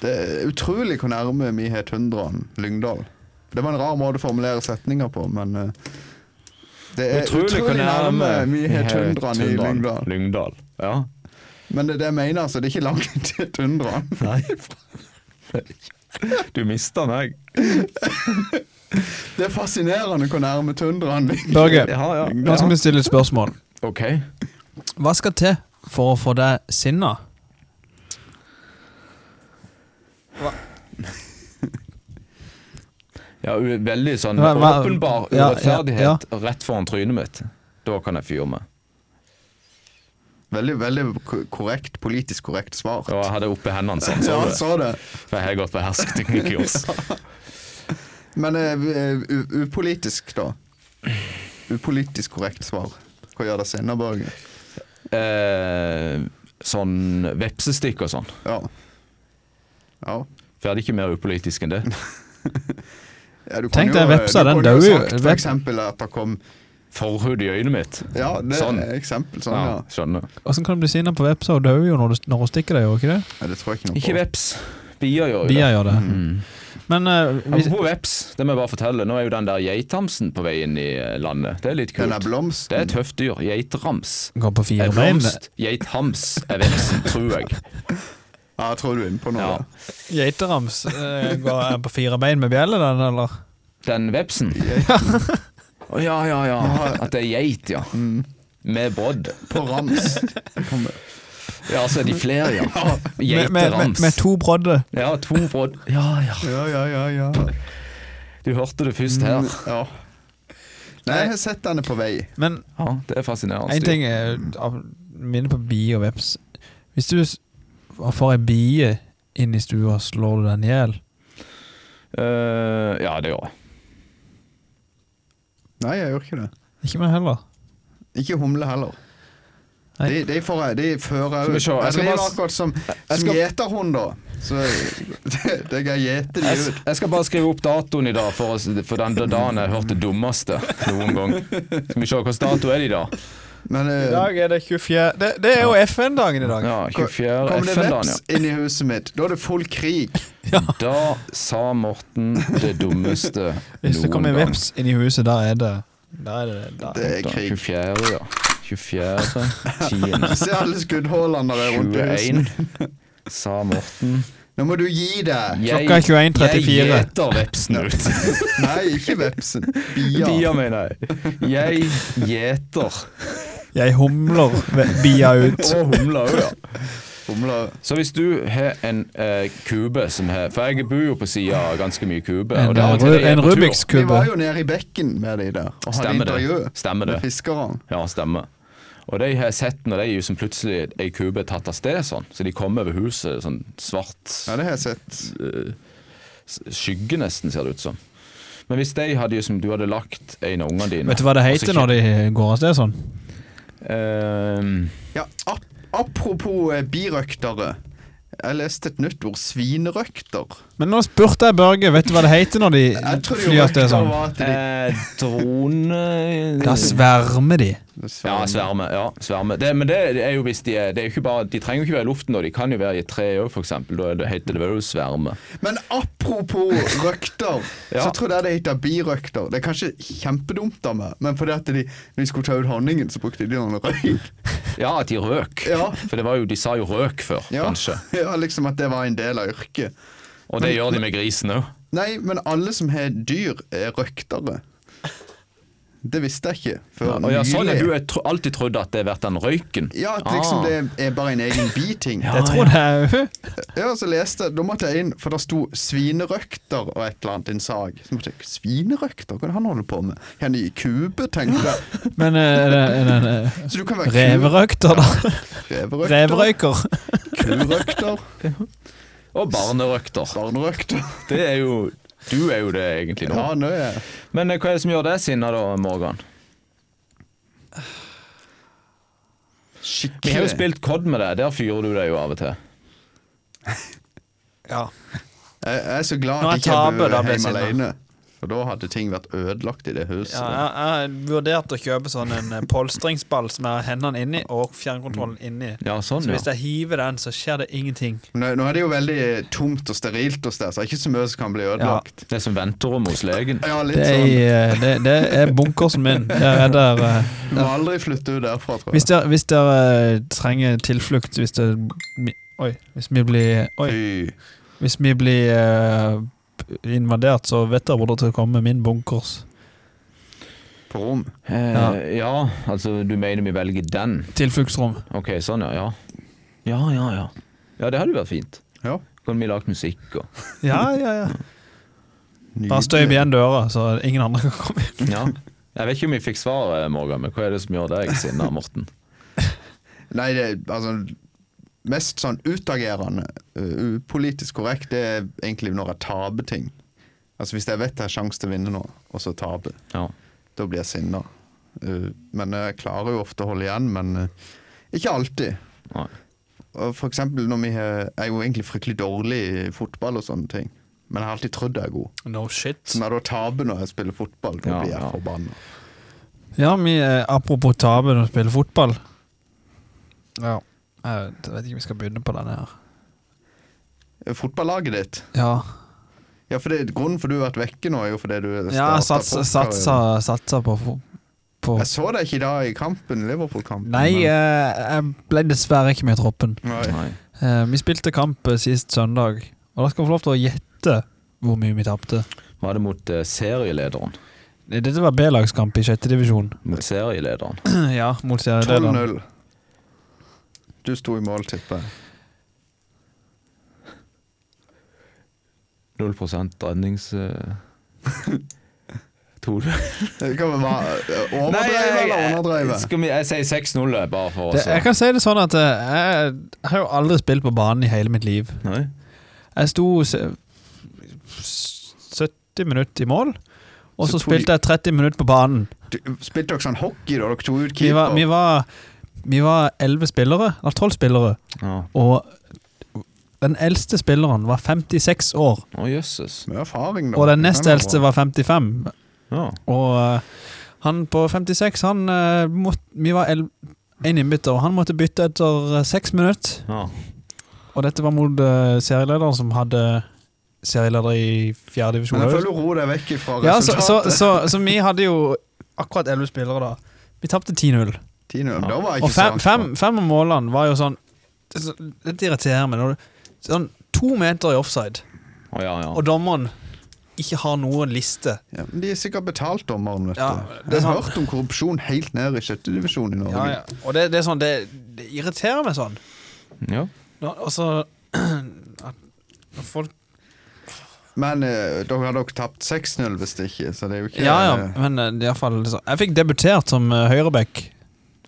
B: Det er utrolig hvor nærme vi har tundraen Lyngdal. Det var en rar måte å formulere setninger på, men eh, Det er Eh, utrolig,
C: hvor
B: nærme vi har
C: har
B: tundraen i
C: tundraen.
B: Lyngdal.
C: Lyngdal. Ja.
B: Men det er det jeg mener, altså. Det er ikke langt til tundraen.
C: Nei. Du mista meg.
B: Det er fascinerende hvor nærme tundraen ligger.
A: Børge,
C: Ja, ja.
A: nå skal vi stille et spørsmål.
C: OK.
A: Hva skal til for å få deg sinna?
C: Ja, u- veldig sånn
A: Hva- hva-
C: åpenbar
A: ja, ja,
C: urettferdighet rett foran trynet mitt. Da kan jeg fyre meg.
B: Veldig, veldig ko- korrekt, politisk korrekt svar.
C: Og jeg hadde oppe hendene sånn, så
B: Ja,
C: du det.
B: så det.
C: For jeg har gått på hersketeknikkurs.
B: Men eh, u- u- upolitisk, da. Upolitisk korrekt svar. Hva gjør det sinna, Børge?
C: eh, sånn vepsestikk og sånn.
B: Ja. Ja.
C: For jeg er ikke mer upolitisk enn det.
B: Ja, du
A: Tenk
B: kunne
A: deg
B: jo- eh,
A: vepsa,
B: du
A: den
B: kunne jo
A: dør jo.
B: sagt For
A: Vep-
B: eksempel at det kom
C: Forhud i øynene mitt.
B: Ja, det
C: Sånn.
B: er eksempel sånn, ja.
C: Ja, skjønner.
A: Åssen kan du bli sinna på vepsa? Hun dør jo når, du, når hun stikker deg, gjør hun ikke det?
B: ja. Det tror jeg ikke noe
C: Ikke
B: på.
C: veps. Bier gjør jo det.
A: Bier gjør det.
C: Mm.
A: Men eh, hvis,
C: Apropos veps, det må jeg bare fortelle. Nå er jo den der geithamsen på vei inn i eh, landet. Det er litt
B: Den er
C: kult.
B: blomsten.
C: Det er et tøft dyr. Geitrams.
A: går på
C: Er
A: fire bein
C: blomst. Geithams er vepsen, tror jeg.
B: Ja, jeg tror du er inne på noe.
C: Ja.
A: Geiterams eh, går er på fire bein med bjelle, den, eller?
C: Den vepsen. Å ja, ja, ja. At det er geit, ja.
A: Mm.
C: Med brodd.
B: På rams.
C: Ja, så er de flere, ja.
A: Med, med, med,
C: Geiterams.
A: med to brodder.
C: Ja, to brodd. Ja, ja.
B: Ja, ja, ja, ja.
C: Du hørte det først her.
A: Mm.
B: ja. Nei, jeg har sett den er på vei.
A: Men
C: Ja, det er fascinerende.
A: én ting er av- minner på bie og veps. Hvis du s- får ei bie inn i stua, slår du den i hjel?
C: Eh, ja, det gjør jeg.
B: Nei, jeg gjør ikke det.
A: Ikke meg heller.
B: Ikke humle heller.
A: Nei.
B: De, de, får, jeg- de fører
C: Skal vi
B: jeg
C: se, jeg
B: ut. Jeg
C: skal
B: driver
C: bare-
B: akkurat som,
C: jeg
B: som
C: skal-
B: gjeterhunder. Så det, det kan gjete de
C: Jeg,
B: ut.
C: s- jeg skal bare skrive opp datoen i dag, for, å s- for den dagen jeg hørte det dummeste noen gang. Skal vi se, hvilken dato er det i dag?
B: Men eh,
A: er det 24 Det, det er jo FN-dagen i
C: Ja,
A: dag.
B: kom
C: 24.
B: det
C: FN-dagen,
B: veps
C: ja.
B: inn i huset mitt, da er det full krig.
C: Da sa Morten det dummeste
A: Hvis det
C: noen
A: kommer en
C: gang.
A: veps inn i huset, der er det Der er det, der.
B: Det er
C: Da,
B: krig.
C: 24, ja. 24, 10,
B: Se alle skuddholdene rundt i huset.
C: 21, sa Morten.
B: Nå må du gi deg!
A: Klokka er 21.34.
C: Jeg gjeter vepsen ut.
B: Nei, ikke vepsen.
C: Bia,
B: Bia.
C: mener jeg. Jeg gjeter.
A: Jeg humler ve- bia ut.
C: Og humler òg, ja.
B: Humler.
C: Så hvis du har en eh, kube som har For jeg bor jo på sida av ganske mye kube.
A: En, eh,
C: det er av og til
A: ru-
C: jeg er
A: en
C: på tur.
A: Rubiks
B: Vi
A: kube.
B: var jo nede i bekken med de der og hadde
C: Stemmer
B: intervju
C: det. Stemmer
B: med
C: det.
B: fiskerne.
C: Ja, stemmer. Og de har sett når de er som plutselig ei kube er tatt av sted sånn, så de kommer over huset sånn svart
B: Ja, det har jeg sett.
C: eh, s- skygge, nesten, ser det ut som. Men hvis de hadde jo som du hadde lagt en av ungene dine
A: Vet du hva det heter når de går av sted sånn?
C: Ehm,
B: Ja, ap apropos eh, birøktere. Jeg leste et nytt ord. Svinerøkter.
A: Men nå spurte jeg Børge, vet du hva det heter når de
B: Jeg tror
A: flyr
B: jo
A: av sted
B: røkter
A: sånn?
B: var at de
C: eh, Drone
A: Da svermer de.
B: sånn.
C: Ja, altså- sverme. ja, sverme. Det, men det er jo hvis de er, det er jo ikke bare, De trenger jo ikke være i luften, og de kan jo være i et tre òg, f.eks. Da er det- heter det vel sverme.
B: Men apropos røkter,
C: Ja.
B: så trodde jeg det het birøkter. Det er kanskje kjempedumt av meg, men fordi at de, når de skulle ta ut honningen, så brukte de noen røyk.
C: Ja, at de røk.
B: Ja.
C: For det var jo, de sa jo røk før,
B: Ja.
C: kanskje.
B: ja, liksom at det var en del av yrket.
C: Og det gjør de med grisen òg.
B: Nei, men alle som har dyr, er røktere. Det visste jeg ikke før
C: Og ja, sånn er
B: nylig.
C: du har tro, alltid trodd at det har vært den røyken.
B: Ja, at liksom
C: Ah.
B: det er bare en egen biting.
A: Jeg tror det er
B: Ja, så leste jeg, Da måtte jeg inn, for det sto 'svinerøkter' og et eller annet i en sag. Så måtte jeg, Svinerøkter? Hva er det han holder på med? Er han i kube, tenkte jeg.
A: Men eh, er det er det en
B: Så du kan være
A: reverøkter, da?
B: Reverøkter.
A: Reverøyker?
B: Kurøkter.
C: Og barnerøkter.
B: Barnerøkter.
C: Det er jo Du er jo det egentlig nå.
B: Ja, nå er jeg.
C: Men eh, hva er det som gjør deg sinna da, Morgan? Vi har jo
B: Skikkelig.
C: spilt COD med deg. Der fyrer du deg jo av og til.
A: Ja.
B: Jeg, jeg er så glad
A: Når
B: at
A: jeg
B: ikke jeg
A: taper,
B: bor
A: da blir jeg
B: hjemme
A: sinna.
B: alene. For da hadde ting vært ødelagt i det huset.
A: jeg, jeg vurderte å kjøpe sånn en eh, polstringsball som jeg har hendene inni og
B: Mm.
A: fjernkontrollen inni.
C: Ja, sånn,
A: Så
C: ja.
A: hvis jeg hiver den, så skjer det ingenting.
B: Nå, nå er det jo veldig tomt og sterilt hos deg, så det er ikke så mye som kan bli ødelagt.
C: Det er som venterommet hos legen.
B: Ja, litt
A: Det er,
B: sånn.
A: i, eh, det, det er bunkersen min. Der er der eh,
B: Du må aldri flytte ut derfra, tror
A: Hvis
B: jeg.
A: dere, hvis dere trenger tilflukt Hvis det mi- Oi, hvis vi blir Oi,
B: Fy.
A: hvis vi blir eh, invadert, så vet dere hvor dere skal komme med min bunkers.
B: På rom.
C: Eh,
A: Ja.
C: ja, altså du mener vi velger den?
A: Tilfluktsrom.
C: Ok, sånn ja. Ja, ja, ja. Ja, ja det hadde jo vært fint.
B: Ja.
C: Kunne vi lagd musikk og
A: Ja, ja, ja. Bare
B: Nydelig.
A: støyv igjen døra, så ingen andre kan komme inn.
C: Ja. Jeg vet ikke om vi fikk svaret, Morgan, men hva er det som gjør deg sinna, Morten?
B: Nei, det er altså Mest sånn utagerende, uh, upolitisk korrekt, det er egentlig når jeg taper ting. Altså Hvis jeg vet jeg har sjanse til å vinne nå, og så taper,
C: Ja.
B: da blir jeg sinna. Uh, men jeg klarer jo ofte å holde igjen, men uh, ikke alltid.
C: Nei.
B: Og for eksempel når vi har, jeg er jo egentlig fryktelig dårlig i fotball og sånne ting. Men jeg har alltid trodd jeg er god.
A: No shit.
B: Så når jeg da taper når jeg spiller fotball, da
C: Ja,
B: blir jeg
C: ja.
B: forbanna.
A: Ja, vi, eh, apropos tape når vi spiller fotball. Ja. Jeg vet- jeg vet ikke om vi skal begynne på denne her.
B: Fotballaget ditt
A: Ja,
B: Ja, for det, Grunnen for du har vært vekke nå, er jo fordi du
A: ja
B: startet
A: satsa,
B: poker.
A: satsa, satsa på, fo- på
B: Jeg så deg ikke i dag i kampen, Liverpool-kampen.
A: Nei, eh, jeg ble dessverre ikke med i troppen.
B: Nei.
C: Nei.
A: Eh, vi spilte kamp eh, sist søndag, og da skal vi få lov til å gjette hvor mye vi tapte.
C: Var det mot eh, serielederen?
A: Dette var B-lagskamp i sjette divisjon.
C: Mot serielederen.
A: ja, mot serielederen.
B: 12-0. Du sto i mål, tipper jeg.
C: 0 rednings... eh, Tror du?
B: Det kan vel være eh, Overdrevet
C: jeg,
B: eller underdrevet?
C: skal vi, jeg sier 6-0, bare for
A: Det,
C: oss.
A: jeg kan si det sånn at eh, jeg, jeg har jo aldri spilt på banen i hele mitt liv.
C: Nei?
A: Jeg sto se- 70 minutter i mål, og
B: Så
A: så
B: to i-
A: spilte jeg 30 minutter på banen.
B: Du, spilte dere sånn hockey da dere tok ut
A: Vi var,
B: keeper?
A: vi var, vi var 11 spillere, eller 12 spillere,
C: Ja.
A: og den eldste spilleren var 56 år.
C: Å, jøsses.
B: Med erfaring, da.
A: Og den
B: Det
A: nest
B: kan være
A: eldste
B: bra.
A: var 55,
C: Ja.
A: og eh, han på 56 han, eh, måtte, Vi var el- en innbytter, og han måtte bytte etter eh, seks minutter.
C: ja.
A: Og dette var mot eh, serielederen som hadde serieleder i fjerde divisjon.
B: Men jeg føler ro deg vekk fra
A: Ja, så, så,
B: resultatet.
A: så, så vi hadde jo akkurat elleve spillere da. Vi tapte 10-0.
B: 10-0, da var jeg
A: Og
B: ikke så
A: fem,
B: langt
A: fem,
B: fra.
A: fem av målene var jo sånn det er så- Dette irriterer meg. Når du, sånn to meter i offside,
C: Å, ja, ja.
A: og dommeren ikke har noen liste.
B: Ja, men de er sikkert betalt dommeren, vet du.
A: Ja, det er
B: jeg har
A: sant.
B: hørt om korrupsjon helt ned i sjette divisjon i Norge.
A: Ja, ja. Og det, det er sånn det, det irriterer meg sånn.
C: ja.
A: Nå- Og så at når folk
B: Men eh, dere hadde dere tapt 6-0 hvis det ikke, så det er jo ikke
A: Ja ja,
B: eh,
A: men eh, det er i hvert fall liksom. Jeg fikk debutert som eh, høyreback.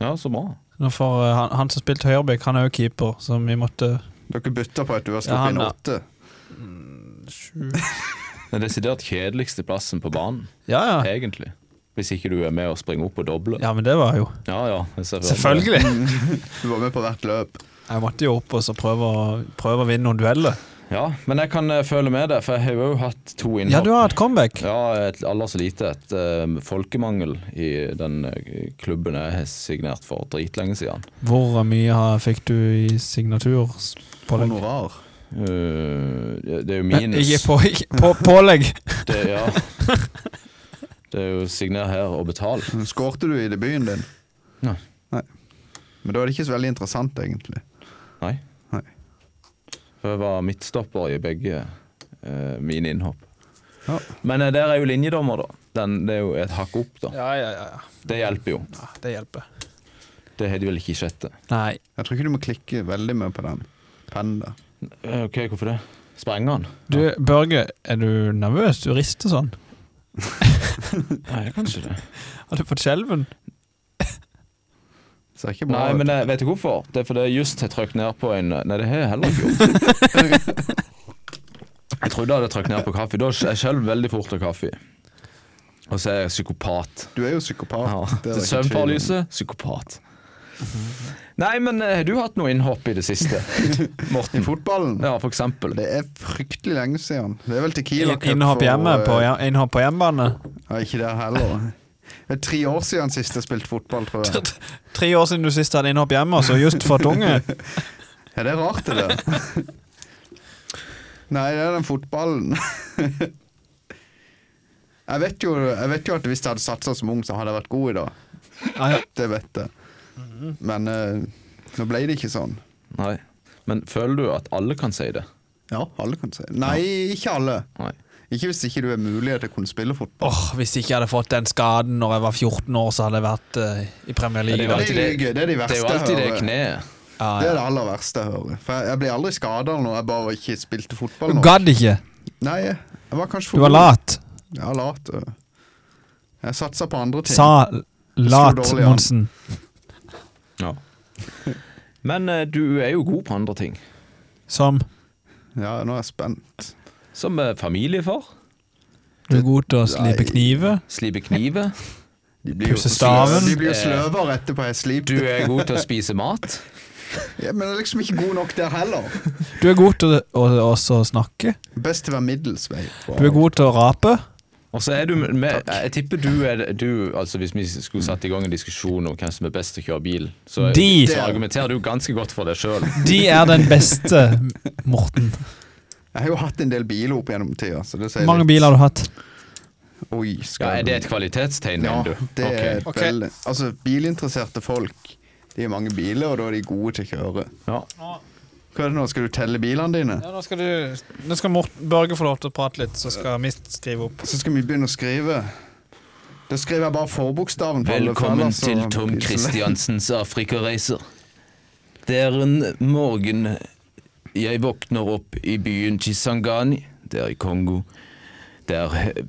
C: ja, så bra.
A: Nå får, eh, han, han som spilte høyreback, han er jo keeper, så vi måtte
B: Dere bytta på at du har
A: Ja, han
B: sluppet inn
A: da.
B: åtte.
C: Den desidert kjedeligste plassen på banen,
A: Ja ja.
C: egentlig. Hvis ikke du er med og springer opp og dobler.
A: Ja, men det var jo
C: Ja, ja, jeg ser for meg det.
A: Selvfølgelig.
B: Du var med på hvert løp.
A: Jeg måtte jo opp og så prøve å, prøve å vinne noen dueller.
C: Ja, men jeg kan eh, føle med deg, for jeg har jo hatt to innhopp.
A: Ja, du har et comeback.
C: Ja, et, aller så lite. Et eh, folkemangel i den eh, klubben jeg har signert for dritlenge siden.
A: Hvor eh, mye har- fikk du i signaturpålegg?
B: Honorar.
C: Eh, det, det er jo
A: Men
C: minus.
A: Ikke på, ikke på, pålegg!
C: Det, ja. det er jo signer her og betal.
B: Skårte du i debuten din?
C: Nei.
B: Nei. Men da er det ikke så veldig interessant, egentlig.
C: Nei.
B: Nei.
C: For jeg var midtstopper i begge eh, mine innhopp.
B: Ja.
C: Men eh, der er jo linjedommer, da. Den, det er jo et hakk opp, da.
A: Ja, ja, ja. ja.
C: Det hjelper jo.
A: Ja, Det hjelper.
C: Det har de vel ikke i sjette.
A: Nei.
B: Jeg tror ikke du må klikke veldig mye på den pennen der.
C: Eh, OK, hvorfor det? Sprenger han?
A: Du, Børge, er du nervøs? Du rister sånn.
C: Nei, kanskje det.
A: Har du fått skjelven?
B: Ser ikke bra
C: Nei, men
B: ut.
C: jeg vet du hvorfor? Det er fordi jeg just har trøkt ned på en Nei, det har jeg heller ikke gjort. Jeg trodde jeg hadde trøkt ned på kaffe. Da er jeg selv veldig fort av kaffe. Og så er jeg psykopat.
B: Du er jo psykopat.
C: Ja,
B: det
C: det
B: er
C: er
B: ikke
C: Søvnparalyse, psykopat. Nei, men eh, har du hatt noe innhopp i det siste,
B: I
C: Morten?
B: fotballen?
C: Ja, for eksempel.
B: Det er fryktelig lenge siden. Det er vel Tequila Cup
A: Innhopp
B: for,
A: hjemme
B: eh,
A: på, hjem- innhopp på hjemmebane?
B: Ja, ikke der heller. Det er tre år siden sist jeg spilte fotball, tror jeg.
A: Tre år siden du sist hadde innhopp hjemme, og så just fått unge?
B: Ja, det er rart, det der. Nei, det er den fotballen. Jeg vet, jo, jeg vet jo at hvis jeg hadde satsa som ung, så hadde jeg vært god i dag.
A: Nei, ja.
B: Det vet jeg. Men eh, nå ble det ikke sånn.
C: Nei. Men føler du at alle kan si det?
B: Ja, alle kan si Nei, ikke alle.
C: Nei.
B: Ikke hvis ikke du har mulighet til å kunne spille fotball.
A: Åh, Hvis ikke jeg hadde fått den skaden når jeg var 14 år, så hadde jeg vært eh, i Premier
C: Ja,
A: League.
C: det
A: da.
C: er
B: Det
C: jo alltid
B: er
C: det,
B: gøy, det er de
C: det, er jo
B: verste
C: alltid det
B: hører.
C: kneet.
A: ja,
B: Det er
A: ja.
B: det aller verste jeg hører. For jeg, jeg blir aldri skada når jeg bare ikke spilte fotball.
A: Du
B: Nå.
A: gadd ikke.
B: Nei, jeg var kanskje
A: Du var lat.
B: Ja, lat. øh. Jeg satsa på andre ting.
A: Sa lat,
B: dårlig an.
A: Monsen.
C: Ja. Men eh, du er jo god på andre ting.
A: Som
B: Ja, nå er jeg spent.
C: Som eh, familiefar.
A: du er god til å slipe
B: Nei.
A: kniver.
C: Slipe kniver.
B: De blir jo
A: Pusse staven.
B: slø- De blir jo
C: Eh.
B: sløvere etterpå jeg slip.
C: Du er god til å spise mat.
B: Ja, men jeg er liksom ikke god nok der heller.
A: Du er god til å, å også snakke.
B: Best til å være middels vei.
A: Du er god til å rape.
C: Og så er du med, Jeg tipper du er du, altså Hvis vi skulle satt i gang en diskusjon om hvem som er best til å kjøre bil, så,
A: De-
C: så argumenterer du ganske godt for deg sjøl.
A: De er den beste, Morten.
B: Jeg har jo hatt en del biler opp gjennom tida. Så det sier
A: Hvor mange
B: litt.
A: biler har du hatt?
B: Oi,
C: Ja,
B: skal
C: er det et kvalitetstegn,
B: Ja,
C: mener du?
B: det er
C: Ok.
A: Ok.
B: veldig Altså, bilinteresserte folk De har mange biler, og da er de gode til å kjøre.
C: Ja.
B: Hva er det nå, skal du telle bilene dine?
A: Ja, nå skal, du, nå skal Morten, Børge få lov til å prate litt, så skal Mist skrive opp.
B: Så skal vi begynne å skrive. Da skriver jeg bare forbokstaven. på alle, for
C: Velkommen
B: ellers så-
C: til Tom Christiansens afrikareiser. Det er en morgen jeg våkner opp i byen Chisangani, det er i Kongo, der he-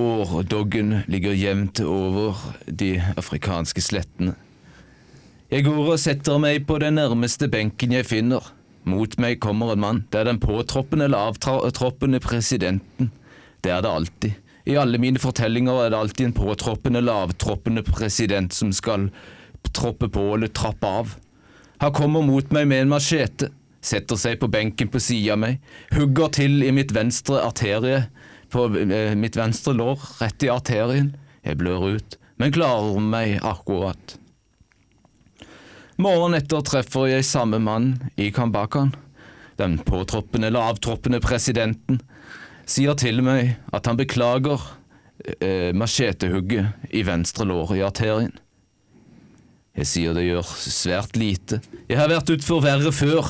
C: vårdoggen ligger jevnt over de afrikanske slettene. Jeg går og setter meg på den nærmeste benken jeg finner. Mot meg kommer en mann. Det er den påtroppende eller avtroppende presidenten. Det er det alltid. I alle mine fortellinger er det alltid en påtroppende eller avtroppende president som skal troppe på eller trappe av. Han kommer mot meg med en machete, setter seg på benken på sida av meg, hugger til i mitt venstre arterie, på eh, mitt venstre lår, rett i arterien. Jeg blør ut, men klarer meg akkurat. Morgenen etter treffer jeg samme mann i Kambakan, den påtroppende eller avtroppende presidenten. sier til meg at han beklager eh, machetehugget i venstre lår i arterien. Jeg sier det gjør svært lite. Jeg har vært utfor verre før.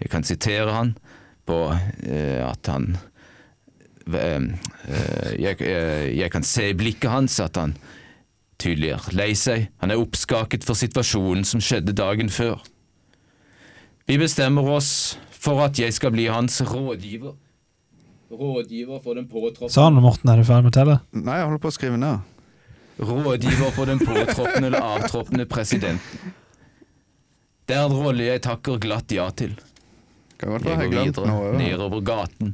C: Jeg kan sitere han på eh, at han eh, eh, jeg, eh, jeg kan se i blikket hans at han tydelig er lei seg. Han er oppskaket for situasjonen som skjedde dagen før. Vi bestemmer oss for at jeg skal bli hans rådgiver. Rådgiver for den påtroppende
A: Sånn, Morten, er du ferdig med tellet?
B: Nei, jeg holder på å skrive ned.
C: Rådgiver for den påtroppende eller avtroppende presidenten. Det er en rolle jeg takker glatt ja til.
B: Kan godt være jeg
C: Jeg går
B: har glemt
C: videre
B: noe.
C: nedover gaten.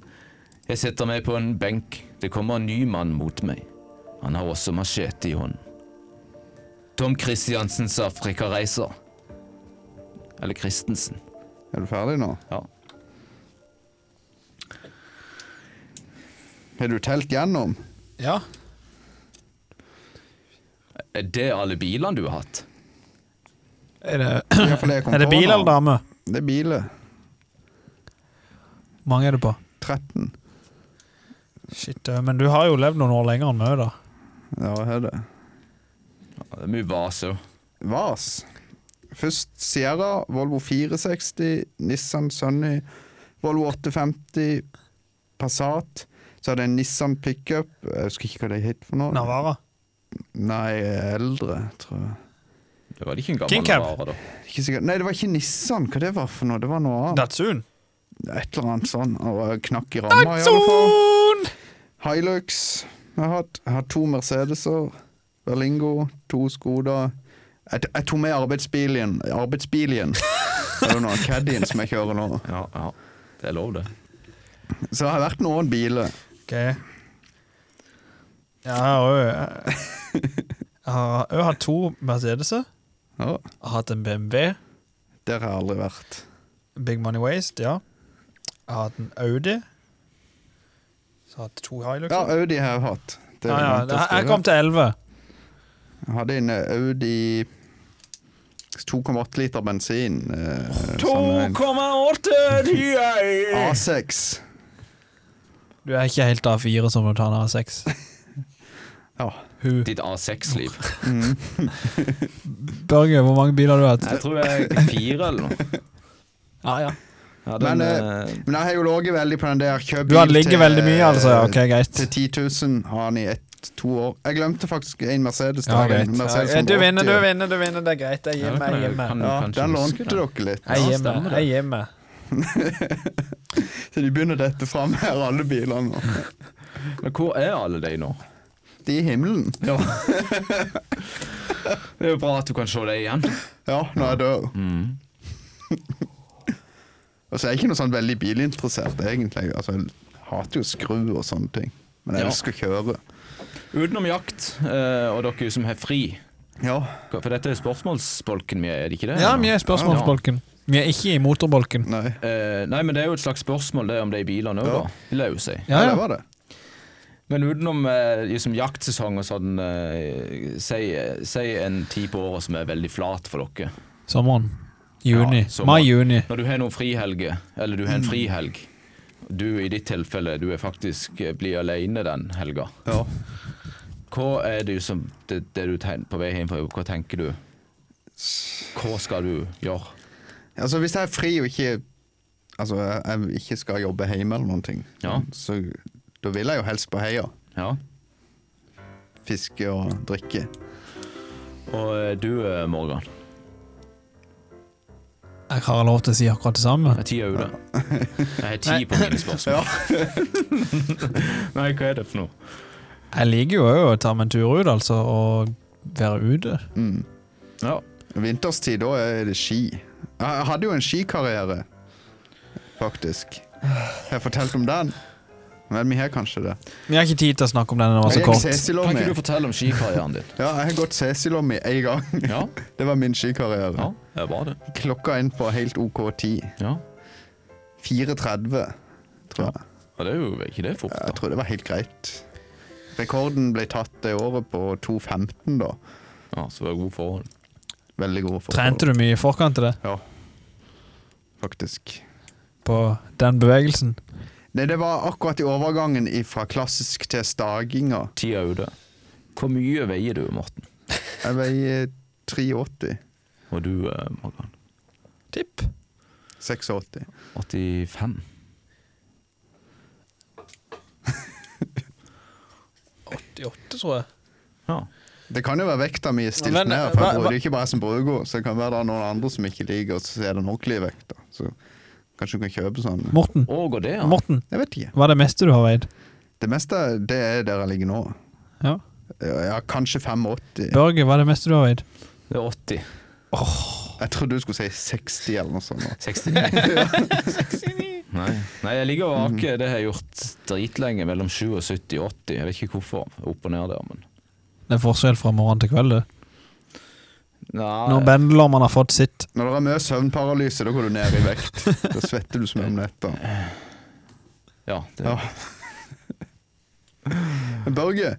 C: Jeg setter meg på en benk. Det kommer en ny mann mot meg. Han har også machete i hånden. Tom Christiansens Afrikareiser. Eller Christensen.
B: Er du ferdig nå?
C: Ja.
B: Har du telt gjennom?
A: Ja.
C: Er det alle bilene du har hatt?
A: Er det,
B: I hvert fall det jeg kom
A: er det
B: på
A: bil
B: nå.
A: eller dame?
B: Det er biler.
A: Hvor mange er det på?
B: 13.
A: Shit, eh, men du har jo levd noen år lenger enn meg, da.
B: Ja, hva er det?
C: Ja, Det er mye vas òg.
B: Vas. Først Sierra, Volvo 460, Nissan Sunny, Volvo 850, Passat. Så hadde jeg en Nissan pickup. Jeg husker ikke hva det het for noe.
A: Navara.
B: Nei, eldre, tror jeg.
C: Det var ikke en
A: King
C: gammel
A: Cab.
C: vare, da.
B: Ikke sikkert. Nei, det var ikke Nissan. Hva det var for noe? Det var noe annet.
A: Datsun.
B: Et eller annet sånn. Og knakk i ramma, i alle fall. Hilux jeg har hatt. Jeg har to Mercedeser. Berlingo, to Skoda. Jeg, t- jeg tok med arbeidsbilen. Arbeidsbilen. Det er jo noe Caddien som jeg kjører nå.
C: Ja, ja. Det er lov, det.
B: Så det har vært noen biler.
A: Ok. Ja, jeg har jo Jeg jeg har jeg har hatt to Mercedeser.
B: Ja,
A: Jeg har hatt en BMW.
B: der har jeg aldri vært.
A: Big Money Waste, ja. Jeg har hatt en Audi. Så har jeg hatt to
B: Ja,
A: Hiluxer.
B: Audi har jeg hatt. Det er
A: Ja, ja,
B: vant
A: jeg-
B: til å
A: Jeg
B: skrive.
A: kom til elleve.
B: Jeg hadde en eh, Audi 2,8 liter bensin. eh, sånn en
A: 2,8!
B: A6.
A: Du er ikke helt A4 som du tar en A6.
B: Ja.
A: Hun.
C: Ditt A6-liv.
A: Børge, hvor mange biler har du hatt?
C: Jeg tror jeg er fire eller noe.
A: Ja, ja.
C: Ja,
B: Men,
C: den,
B: eh,
C: eh,
B: Men jeg har jo ligget veldig på den der eh, kjøp
A: Du har ligget veldig mye, altså. ja, Ok, greit.
B: til 10 000 har han i ett, to år. Jeg glemte faktisk en Mercedes.
A: Ja,
B: der, en
A: greit.
B: Mercedes
A: Ja, du
B: 180.
A: vinner, du vinner, du vinner. Det er greit. Jeg
C: Ja,
A: gir
C: det
A: meg.
C: kan
A: Jeg gir
C: jeg-
A: meg.
C: kan-
B: Ja,
C: kanskje
B: den
C: husker
B: lånte
C: den.
B: dere litt.
A: Jeg
C: Ja,
A: gir meg.
C: stemmer det.
A: Jeg gir meg.
B: Så de begynner å dette fram her, alle bilene. nå.
C: Men hvor er alle de nå?
B: De i himmelen.
C: Ja. Det er jo bra at du kan se det igjen.
B: Ja, når jeg dør.
A: Mm.
B: Og så er jeg ikke noe sånn veldig bilinteressert, egentlig. Altså, jeg hater jo skru og sånne ting. Men jeg
C: Ja.
B: elsker å kjøre.
C: Utenom jakt, eh, og dere som har fri.
B: Ja,
C: For dette er spørsmålsbolken min, er det ikke det?
A: Ja, vi er i spørsmålsbolken. Vi er ikke i motorbolken.
B: nei.
C: Eh, nei, men det er jo et slags spørsmål det om de bilene òg,
B: Ja.
C: da. Vil jeg jo si.
A: Ja,
B: det
A: ja.
B: var det.
C: Men utenom eh, liksom jaktsesong og sånn, eh, si, si en tid på året som er veldig flat for dere.
A: Sommeren. Juni.
C: Ja, sommeren.
A: Mai-juni.
C: Når du har noen frihelger, eller du har
A: Mm.
C: en frihelg Du i ditt tilfelle, du er faktisk eh, blir alene den helga.
B: Ja.
C: Hva er det som det, det du tenker på vei hjem fra jobb, hva tenker du? Hva skal du gjøre?
B: Altså, hvis jeg er fri og ikke Altså, jeg jeg ikke skal jobbe hjemme eller noen ting,
C: Ja.
B: så da vil jeg jo helst på heia.
C: Ja.
B: Fiske og drikke.
C: Og eh, du, eh, Morgan.
A: Jeg har lov til å si akkurat det samme.
C: Jeg er ti ute. Jeg har ti på mine spørsmål. Nei, hva er det for noe?
A: Jeg liker jo òg å ta meg en tur ut, altså. Og være ute.
B: Mm.
C: Ja.
B: Vinterstid, da er det ski. Jeg hadde jo en skikarriere, faktisk. Har jeg fortalt om den? Men vi har kanskje det.
A: Vi har ikke tid til å snakke om den, den var så
B: jeg gikk
A: Altså kort.
C: Kan
B: Cecilom i.
C: ikke du fortelle om skikarrieren din?
B: Ja, jeg har gått Cecilom i én gang.
C: Ja,
B: Det var min skikarriere.
C: ja, det var det.
B: Klokka inn på helt OK tid.
C: Ja.
B: 4.30, tror jeg.
C: Og det er jo ikke det fort,
B: Jeg
C: da.
B: tror det var helt greit. Rekorden ble tatt det året på 2.15, da.
C: Ja, så det er god forhold.
B: Veldig god for
A: Trente du mye i forkant til det?
B: Ja, faktisk.
A: På den bevegelsen?
B: Nei, det var akkurat i overgangen fra klassisk til staginga.
C: Tida er ute. Hvor mye veier du, Morten?
B: Jeg eh, veier 83.
C: Og du, eh, Morgan?
A: Tipp.
B: 86.
C: 85?
A: 88, tror jeg.
C: Ja.
B: Det kan jo være vekta mi er stilt
A: Men, eh,
B: ned, for
A: hva-
B: jeg
A: hva-
B: bruker ikke bare som bruker, så det kan være det er noen andre som ikke liker, og så er den ordentlige vekta. Så kanskje du kan kjøpe sånn.
A: Morten,
C: Å, går det, ja?
A: Morten,
B: Jeg vet ikke.
A: hva er det meste du har veid?
B: Det meste, det er der jeg ligger nå. Eh,
A: Ja.
B: Ja, kanskje 85.
A: Børge, hva er det meste du har veid?
C: Det er 80.
B: Jeg trodde du skulle si 60 eller noe sånt.
C: 69. Nei. Nei, jeg ligger og aker. Det har jeg gjort dritlenge. Mellom 77 og 80. Jeg vet ikke hvorfor. Opp og ned der, men
A: Det er forskjell fra morgen til kveld, det.
C: Nei,
A: Når bendelormene har fått sitt.
B: Når det er mye søvnparalyse, da går du ned i vekt. Da svetter du som om nettene.
C: ja, det,
B: Ja. Men Børge,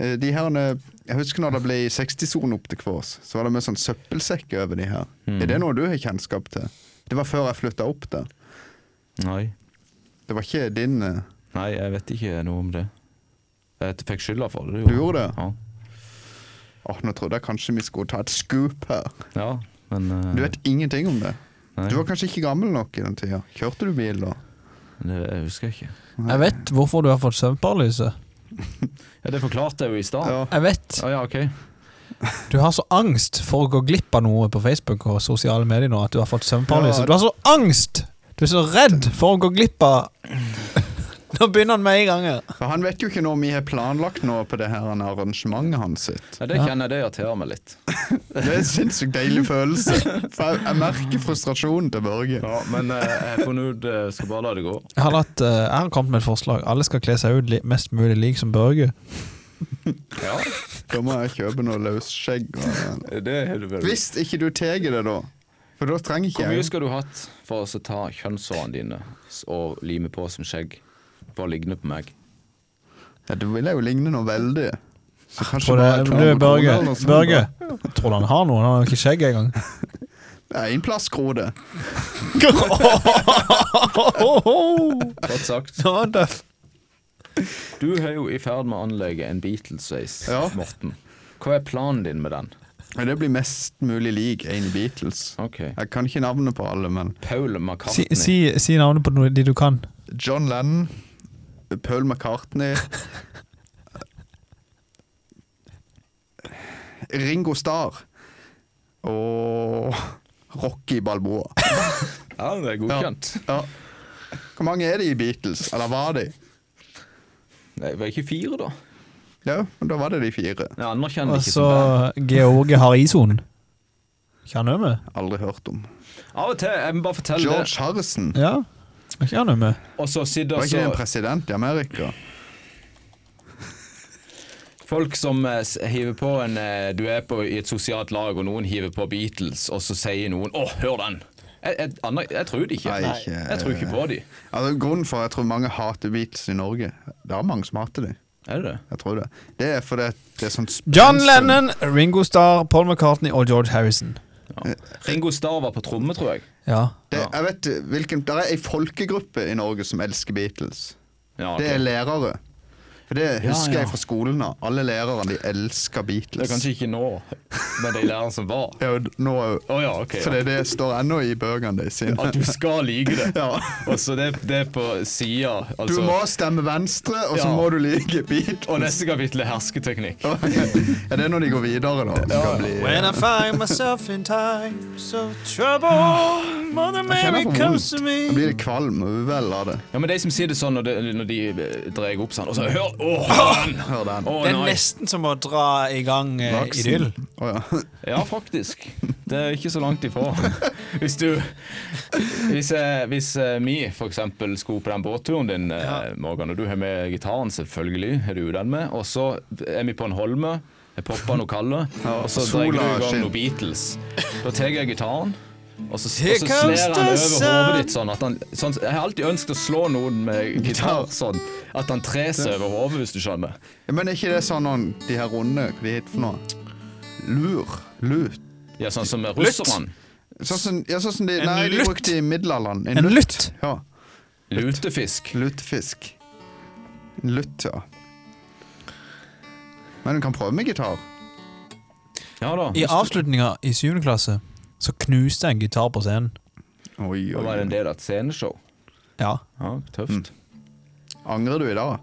B: eh, de her Jeg husker når det ble 60-sone opp til Kvås, så var det mye sånn søppelsekk over de her.
C: Mm.
B: Er det noe du har kjennskap til? Det var før jeg flytta opp der.
C: Nei.
B: Det var ikke din eh,
C: Nei, jeg vet ikke noe om det. Jeg fikk skylda for det.
B: Du gjorde det?
C: Ja.
B: Åh, Nå trodde jeg kanskje vi skulle ta et scoop her.
C: ja men eh,
B: Du vet ingenting om det.
C: nei,
B: Du var kanskje ikke gammel nok i den tida. Kjørte du bil da?
C: det, Jeg husker ikke.
A: Jeg vet hvorfor du har fått søvnparalyse.
C: Ja, Det forklarte jeg jo i stad.
B: Ja.
A: Jeg vet.
C: Å ja, ok.
A: Du har så angst for å gå glipp av noe på Facebook og sosiale medier nå at du har fått søvnparalyse.
B: Ja.
A: Du har så angst! Du er så redd for å gå glipp av Nå begynner han med en gang her.
B: For han vet jo ikke når vi har planlagt noe på det her arrangementet hans sitt.
C: Ja, det kjenner jeg det irriterer meg litt.
B: Det er en sinnssykt deilig følelse. For jeg, jeg merker frustrasjonen til Børge.
C: Ja, Men eh, jeg har funnet ut eh, Skal bare la det gå.
A: Jeg har, latt, eh, jeg har kommet med et forslag. Alle skal kle seg ut li mest mulig lik som Børge.
C: Ja,
B: Da må jeg kjøpe noe løsskjegg. og-
C: det har du vel
B: Hvis ikke du tar det, da. For da trenger ikke
C: Hvor mye
B: jeg
C: skal du hatt for å så ta kjønnshårene dine s- og lime på som skjegg? For å ligne på meg.
B: ja, Da vil jeg jo ligne noe veldig. Så kanskje
A: Tror
B: bare
A: det,
B: to
A: du,
B: kroner
A: Børge,
B: eller sånn. noe sånt,
A: Børge
B: da.
A: Tror du han har noen? Han har jo ikke skjegg engang.
B: Det er en plastkrone.
C: Godt sagt.
A: Det var tøff.
C: Du er jo i ferd med å anlegge en Beatles-sveis,
B: Ja.
C: Morten. Hva er planen din med den?
B: Men det blir mest mulig lik en i Beatles.
C: Ok.
B: Jeg kan ikke navnet på alle, men
C: Paul
A: Si,
C: McCartney.
A: si, si navnet på noe, de du kan.
B: John Lennon, Paul McCartney Ringo Starr og Rocky Balboa.
C: Ja, det er godkjent.
B: Ja. Hvor mange er det i Beatles? Eller var de?
C: Nei, Det var ikke fire, da.
B: Ja, men da var det de fire.
C: Jeg anerkjenner
A: Og
C: ikke
A: Mm, så
C: som band.
A: George Harrison. Ikke han òg med?
B: Aldri hørt om.
C: Av og til, jeg må bare fortelle
B: George Harrison.
A: Ja. Er Ikke han òg med?
C: det. Og så sitter altså
B: Var ikke det en
C: så
B: president i Amerika?
C: folk som eh, s- hiver på en eh, Du er på, i et sosialt lag, og noen hiver på Beatles, og så sier noen 'Å, hør den'. Jeg, jeg, aner- jeg tror det ikke.
B: Nei, ikke-
C: Jeg tror ikke på de.
B: Altså, grunnen for at jeg tror mange hater Beatles i Norge Det er mange som hater dem.
C: Er det det?
B: Jeg tror det. Det er fordi at det er sånn spensel.
A: John Lennon, Ringo Starr, Paul McCartney og George Harrison.
B: Eh,
C: Ringo Starr var på tromme, tror jeg.
A: Ja.
B: Det,
C: Ja.
B: jeg vet, hvilken, der er ei folkegruppe i Norge som elsker Beatles.
C: Ja,
B: Det er
C: Ah, ok.
B: lærere. For det husker
C: ja.
B: jeg fra skolen av. Alle lærerne de elsker
C: det er
B: Beatles.
C: kanskje ikke nå, men de lærerne som var.
B: Ja, og nå òg.
C: Å ja, ok.
B: For
C: Ja.
B: det, det står ennå i bøkene deres. sine.
C: At du skal like det.
B: Ja.
C: Og så det, det er på sida.
B: Du
C: Altså.
B: må stemme Venstre, og så
C: Ja.
B: må du like Beatles.
C: Og neste kapittel er hersketeknikk.
B: Ja, det er når de går videre, da. Det skal bli,
A: When I find myself in times of trouble, Mother
B: kjenner
A: Mary
B: jeg får
A: comes to
B: vondt. Da
A: me.
B: blir det kvalm og uvel av det.
C: Ja, men De som sier det sånn når de, når de dreier opp sånn og så Hør! Å, hør den!
B: Hør den.
C: Å,
A: Det er
C: nei.
A: nesten som å dra i gang eh,
B: Laksen.
A: idyll.
B: Å ja.
C: Ja, faktisk. Det er ikke så langt ifra. Hvis du Hvis, eh, hvis eh, vi for eksempel skulle på den båtturen din, eh, Morgan, og du har med gitaren, selvfølgelig, har du den med, og så er vi på en holme, jeg popper noe kalde, og så
B: sola
C: dreier du i gang
B: skinner.
C: noe Beatles. Da tar jeg gitaren. Og så, og
A: Here
C: så
A: comes
C: slår han
A: the
C: over
A: sun.
C: hodet ditt sånn at han sånn, Jeg har alltid ønsket å slå noen med gitar sånn at han trer seg over hodet, hvis du skjønner.
B: Ja, Men er ikke det sånn noen, de her runde Hva de heter for noe? Lur. Lut.
C: Ja, sånn som med russerne.
B: Sånn som, ja, sånn som de,
A: En
B: nei, de
A: lutt.
B: brukte i middelalderen.
A: En lutt.
B: Ja.
C: Lutefisk.
B: Lutefisk. Lutt, ja. Men du kan prøve med gitar.
C: Ja da.
A: I avslutninga i 7. klasse så knuste jeg en gitar på scenen.
B: Oi,
C: Da
B: oi,
C: var det en
B: oi.
C: del av et sceneshow. Mm.
A: Ja.
C: Ja, tøft.
B: Angrer du i dag?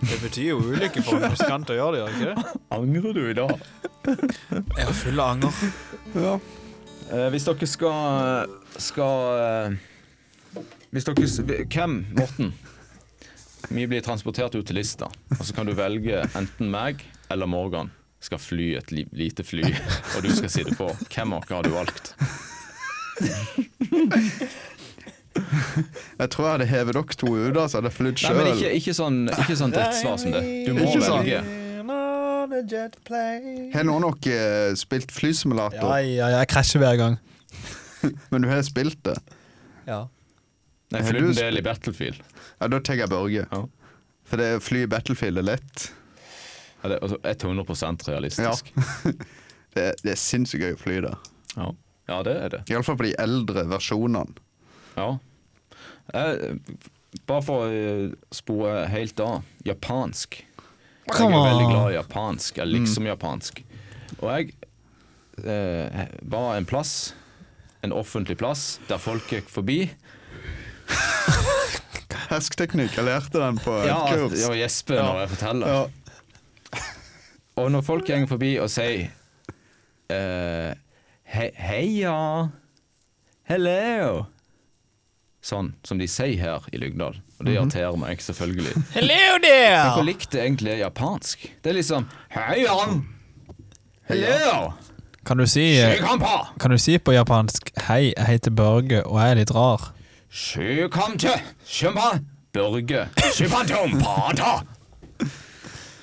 A: Det betyr jo ulykke for en musikant å gjøre det, gjør det ikke det?
C: Angrer du i dag?
A: Jeg er full av anger.
C: Eh, hvis dere skal eh, skal eh, Hvis dere s- vi- Hvem, Morten? Vi blir transportert ut til Lista, og så kan du velge enten meg eller Morgan skal fly et li lite fly, og du skal sitte på. Hvem av dere har du valgt?
B: Jeg tror jeg hadde hevet dere to ut, altså. da, så hadde jeg flydd
C: Nei, men
B: sjøl.
C: ikke, ikke sånn, ikke sånn tett svar som det. Du må
B: Ikke sånn.
C: velge.
B: Har noen av dere eh, spilt flysimulator?
A: Ja, ja, ja, jeg krasjer hver gang.
B: Men du har spilt det?
A: Ja.
C: Nei,
B: Har
C: flydd
B: du
C: en del i Battlefield.
B: Ja, da tar jeg Børge.
C: Ja.
B: For det å fly i Battlefield er lett.
C: Ja, det er altså 100 realistisk.
B: Det er, det er sinnssykt gøy å fly der.
C: Ja. ja, det er det.
B: Iallfall på de eldre versjonene.
C: Ja. Eh, bare for å eh, spore helt av. Japansk. Jeg er
A: Come on.
C: veldig glad i japansk. Jeg liksom japansk. Og jeg eh, var en plass, en offentlig plass, der folk gikk forbi.
B: Heskteknikk. Jeg lærte den på
C: Ja,
B: et kurs.
C: og gjesper når jeg forteller.
B: Ja.
C: Og når folk går forbi og sier eh, he Heia! Hello! Sånn som de sier her i Lyngdal. Og det irriterer meg, selvfølgelig.
A: Hello
C: Hvor
A: there!
C: likt det egentlig er japansk. Det er liksom Heia! Hello!
A: Kan du si eh,
C: Sjukampa!
A: Kan du si på japansk 'Hei, jeg heter Børge, og jeg er litt rar'?
C: Sjukante! Sjumpa! Børge! Sjupantompada!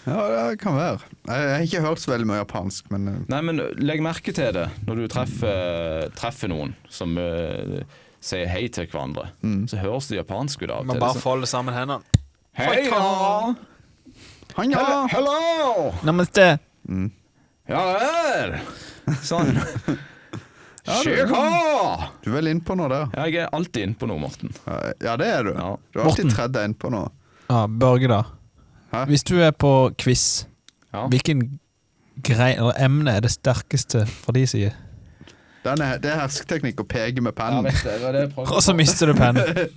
B: ja, det kan være. Jeg har ikke hørt så veldig mye japansk, men eh,
C: Nei, men legg merke til det når du treffer, treffer noen som eh, sier hei til hverandre. Så høres det japansk ut av og til. Det er sånn,
A: folder sammen hendene.
C: Heia!
B: Han, ja!
C: Hel- Hello!
A: Namaste.
C: Ja vel! Sånn. Sjuka!
B: Du er vel innpå noe der.
C: Jeg er alltid inne på noe, Morten.
B: Ja, det er du.
C: Ja.
B: Du har alltid
A: Morten.
B: tredd deg innpå noe.
A: Ja, Børge, da.
B: Hæ?
A: Hvis du er på quiz,
C: Ja.
A: hvilken grei, eller emne er det sterkeste fra de sider?
B: Den er, det er hersketeknikk å peke med pennen.
C: det var det jeg prøvde
A: Og så mister du pennen.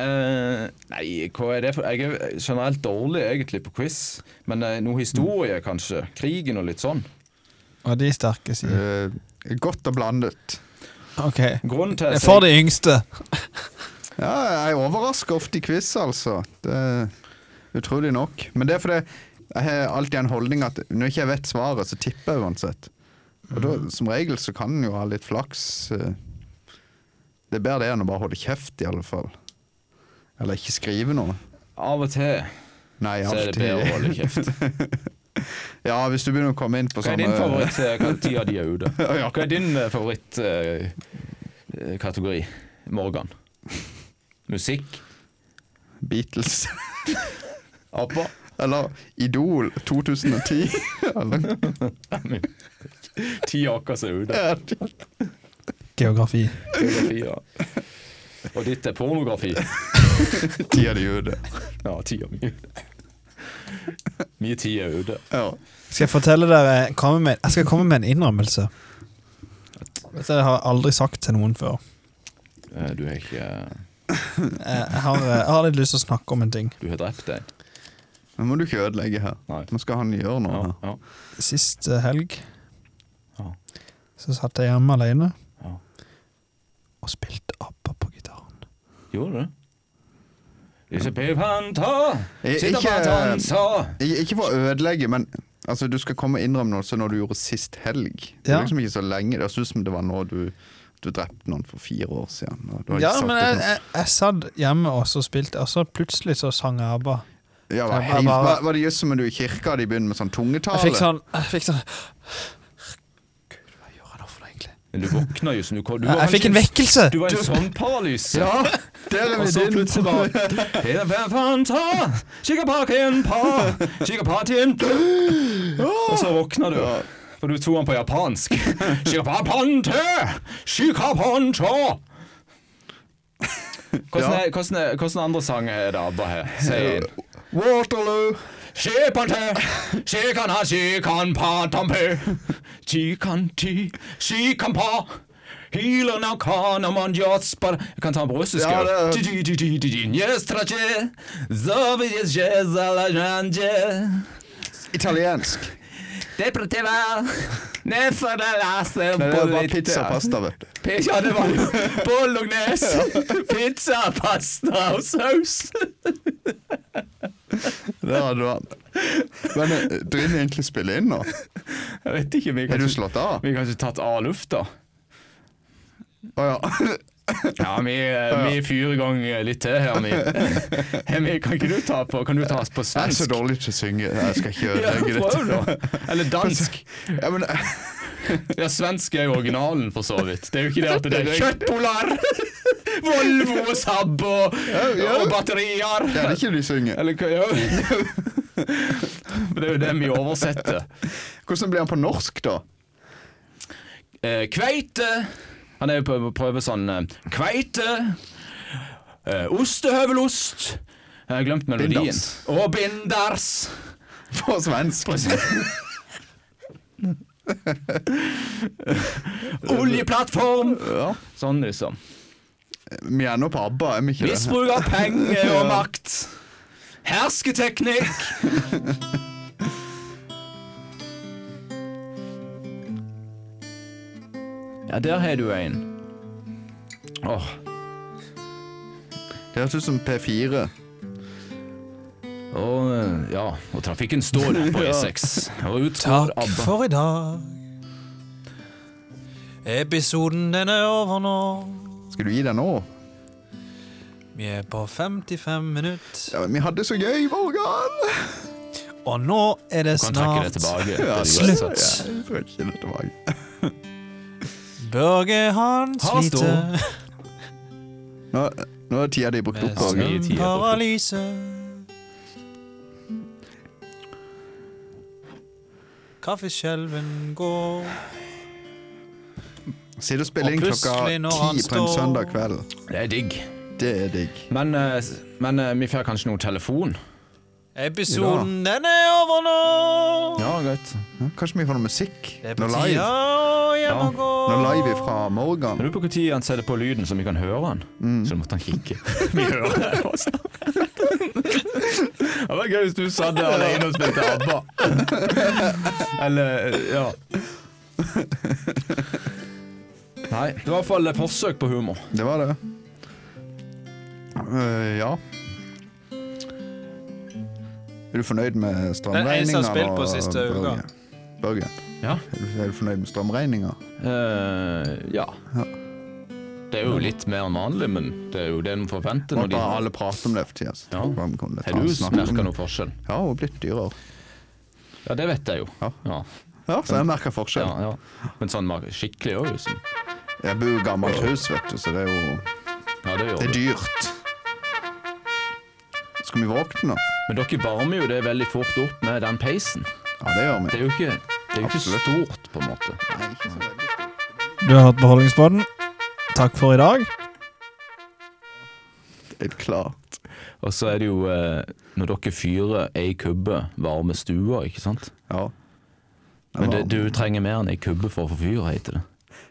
C: Eh, nei, hva er det for Jeg er generelt dårlig egentlig på quiz, men eh, noe historie, kanskje. Krigen og litt sånn.
A: Og de sterke sider.
B: Eh, godt og blandet.
A: Ok.
C: Grunnen til
A: Det er
C: at
A: for
C: jeg,
A: de yngste.
B: Ja, jeg overrasker ofte i quiz, altså. Det er utrolig nok. Men det er fordi jeg har alltid en holdning at når jeg ikke vet svaret, så tipper jeg uansett. Og da,
C: Mhm.
B: som regel så kan en jo ha litt flaks. eh. Det er bedre det enn å bare holde kjeft, i alle fall. Eller ikke skrive noe.
C: av og til
B: Nei,
C: så er
B: alltid.
C: det bedre å holde kjeft.
B: Ja, hvis du begynner å komme inn på
C: Hva er
B: sånne
C: din favoritt eh, hva tid av de er ute? Hva er din eh, favoritt eh, eh, kategori? Morgan. Musikk?
B: Beatles
C: Abba?
B: eller Idol 2010. Eller-
C: Ti aker som er ute.
A: Geografi.
C: Geografi, ja. Og ditt er pornografi?
B: Ti av de gjorde det.
C: Ja, ti av mye. Mye tid er ute.
B: Ja.
A: Skal jeg fortelle dere komme med, Jeg skal komme med en innrømmelse. Dette har jeg aldri sagt til noen før.
C: Eh, Du er ikke eh,
A: Jeg jeg har, eh, jeg har litt lyst til å snakke om en ting.
C: Du har drept en.
B: Nå må du ikke ødelegge her.
C: Nei.
B: Nå skal han gjøre noe.
C: Ja,
B: her.
C: ja.
A: Sist eh, helg
C: Ja.
A: så satt jeg hjemme alene
C: Ja.
A: og spilte ABBA på gitaren.
C: Gjorde du det? Disse pipanta
B: I-
C: sitter
B: Eh, ikke-
C: bare og danser.
B: Ik ikke for å ødelegge, men altså, du skal komme og innrømme noe så når du gjorde sist helg. Det
A: Ja.
B: er liksom ikke så lenge. Det høres ut som det var nå du, du drepte noen for fire år siden. og du har ikke
A: Ja,
B: sagt
A: men
B: det sånn.
A: jeg,
B: til noen.
A: jeg, jeg satt hjemme og så spilte, og så plutselig så sang jeg ABBA.
B: ja, var,
A: jeg
B: helt,
A: bare-
B: var, var det just som om du i kirka de begynner med sånn tungetale?
A: Jeg fikk sånn, jeg fikk sånn Gud, hva gjør jeg nå for noe, egentlig?
C: Men du våkna jo som du kom. Du
A: Jeg,
C: var
A: jeg fikk en
C: kanskje-
A: vekkelse!
C: Du var i en søvnparalyse.
B: Ja, der er
C: Og så
B: vi din.
C: plutselig bare Hele pipanta Kikker parken på Kikker partyen Og så våkna du. For du tok han på japansk. Kikker parpante Kikker panta Hvordan,
B: Ja. Eh,
C: er, hvordan, er, hvordan andre sanger er det ABBA her? Sier en.
B: Waterloo!
C: Skipante, skikana, skikanpa, tampe, skikanti, skikanpa, hilana, kanaman, jatspa Jeg kan ta den på russisk.
B: Ja,
C: ja.
B: det-
C: Di-di-di-di-di-di, njestrache, zovije, zhezalajanje,
B: Italiensk.
C: depretiva,
B: Nei,
C: neferdelase,
B: det er bare
C: bolita.
B: pizza og pasta, vet du.
C: P- Ja, det var det. Bolognese, pizza, pasta og saus.
B: Der hadde du den. Men eh, driver vi egentlig spille inn nå?
C: Jeg vet ikke, vi
B: Er du slått av?
C: har ikke tatt av lufta.
B: Å ja.
C: Ja, vi, eh, vi fyrer i gang eh, litt til her, vi. Hemi, kan ikke du ta på Kan du ta oss på
B: Jeg er så
C: svensk?
B: dårlig til å synge. Jeg skal ikke
C: Ja,
B: ødelegge
C: prøv
B: dette.
C: da. Eller dansk.
B: Ja, men, eh,
C: Ja, svensk er jo originalen, for så vidt. Det er jo ikke det at det er
B: Det er riktig.
C: kjøttboller, Volvo og Saab og,
B: ja.
C: og batterier.
B: det er ikke du synger.
C: Eller hva ja. Men Det er jo det vi oversetter.
B: Hvordan blir han på norsk, da?
C: Eh, kveite Han er jo på å prøve sånn eh, Kveite eh, Ostehøvelost Jeg har glemt melodien
B: Binders.
C: Og binders
B: På svensk.
C: Oljeplattform
B: Ja.
C: Sånn liksom
B: Vi er nå på ABBA, er vi ikke det?
C: Misbruk av penger og makt Hersketeknikk Ja, der har du en Åh
B: Det høres ut som P4.
C: Og, eh, ja, og trafikken står der på E6. Og ut går
A: Takk
C: ABBA.
A: for i dag. Episoden den er over nå.
B: Skal du gi deg nå?
A: Vi er på 55 minutter,
B: Ja, men vi hadde så gøy, Morgan!
A: og nå er det
C: Kan trekke det
A: snart
C: tilbake.
B: Ja,
A: Slutt.
B: Ja, jeg tror ikke det tilbake.
A: Børge Hans
C: Har stå.
A: lite
B: Nå, nå er tida di brukt
A: med
B: opp, Morgan.
C: mye tid på klokka.
A: søvnparalyse. Kaffeskjelven går
B: Sitter og spiller
A: Og
B: inn klokka
A: plutselig når han
B: ti på en
A: står-
B: søndag kveld.
C: Det er digg.
B: Det er digg.
C: Men, eh, s- men eh, vi får kanskje noe telefon.
A: Episoden den er over nå.
C: Ja, greit.
B: Ja, Hm? kanskje vi får noe musikk?
A: Det er på
B: Noe
A: tide
B: live?
A: å hjem
C: Ja,
A: og gå.
B: Noe live fra Morgan?
C: Lurer på når han setter på lyden, så vi kan høre han. Så måtte han kikke. vi hører det også. det var gøy hvis du satt der alene og spilte ABBA. Eller eh, ja. Nei. Det var i hvert fall et forsøk på humor.
B: Det var det. Eh, ja. Er du fornøyd med strømregningene?
A: Den eneste jeg har spilt på
B: og-
A: siste
B: Børge?
A: uka.
B: Børge,
C: Ja.
B: er du, er du fornøyd med strømregninga?
C: Eh, ja.
B: Ja.
C: Det er jo litt mer enn vanlig, men det er jo det en forventer når
B: Måtte
C: de
B: alle prate om det for tida.
C: Ja. Har
B: Har
C: du merka noe forskjell?
B: Ja, hun er blitt dyrere.
C: Ja, det vet jeg jo.
B: Ja.
C: Ja,
B: Ja, så jeg merker
C: ja,
B: forskjell.
C: ja. Men sånn mer- skikkelig òg, liksom.
B: Jeg bor i gammelt hus, vet du, så det er jo
C: Ja, det
B: Det
C: gjør
B: er
C: det.
B: dyrt. Skal vi våkne nå?
C: Men dere varmer jo det veldig fort opp med den peisen.
B: Ja, det gjør
C: Det
B: vi.
C: er jo ikke, det er jo ikke
B: Absolutt.
C: stort, på en måte.
B: Nei, ikke så veldig.
A: Du har hørt Beholdningspodden. Takk for i dag.
B: Det er klart.
C: Og så er det jo eh, Når dere fyrer ei kubbe varme stua, ikke sant
B: Ja.
C: Men det,
B: var-
C: du trenger mer enn ei kubbe for å få fyr, heter det.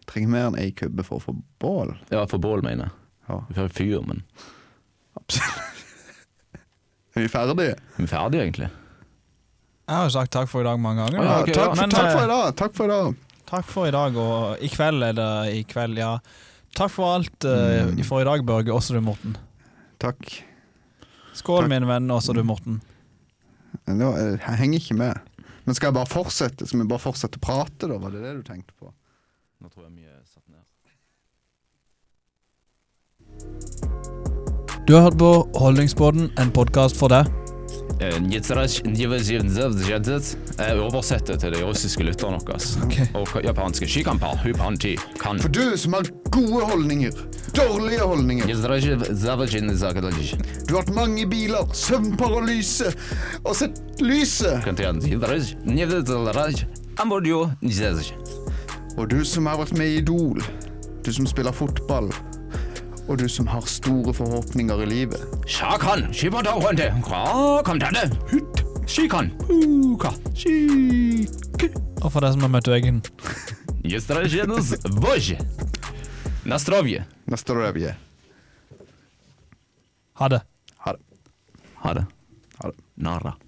B: Trenger mer enn ei kubbe for å få bål.
C: Ja, for bål, mener jeg.
B: Ja.
C: Vi får fyr, men
B: Er vi ferdige?
C: vi er ferdige, egentlig.
A: Jeg har jo sagt takk for i dag mange ganger.
C: Ja,
B: Ja,
C: ok,
B: takk,
C: ja.
B: for,
A: Men,
B: takk for
A: eh,
B: i dag. Takk for i dag.
A: Takk for i dag, og i kveld er det i kveld, ja. Takk for alt eh,
B: Mm.
A: for i dag, Børge. Også du, Morten.
B: Takk.
A: Skål,
B: Takk.
A: min venn. Også du, Morten.
B: Nå, eh, jeg henger ikke med. Men skal jeg bare fortsette? Skal vi bare fortsette å prate, da? Var det det du tenkte på?
C: Nå tror jeg vi er satt ned.
A: Du har hørt på Holdningsbåten, en podkast for deg.
C: Eh, Jeg oversetter til de russiske lytterne deres.
A: Ok.
C: Og japanske shikampa, hupanti, kan.
B: For du som har gode holdninger, dårlige holdninger, du har hatt mange biler, søvnparalyse og sett lyset. Og du som har vært med i Idol, du som spiller fotball, og du som har store forhåpninger i livet.
C: 샤칸 시바다원데 과 감자네 훗 시칸 우카 시
A: Og for deg som har møtt veggen.
C: Не страшенус боже На здоровье
B: Neste revye.
A: Ha det.
B: Ha det.
C: Хада
B: Ha det.
C: Нара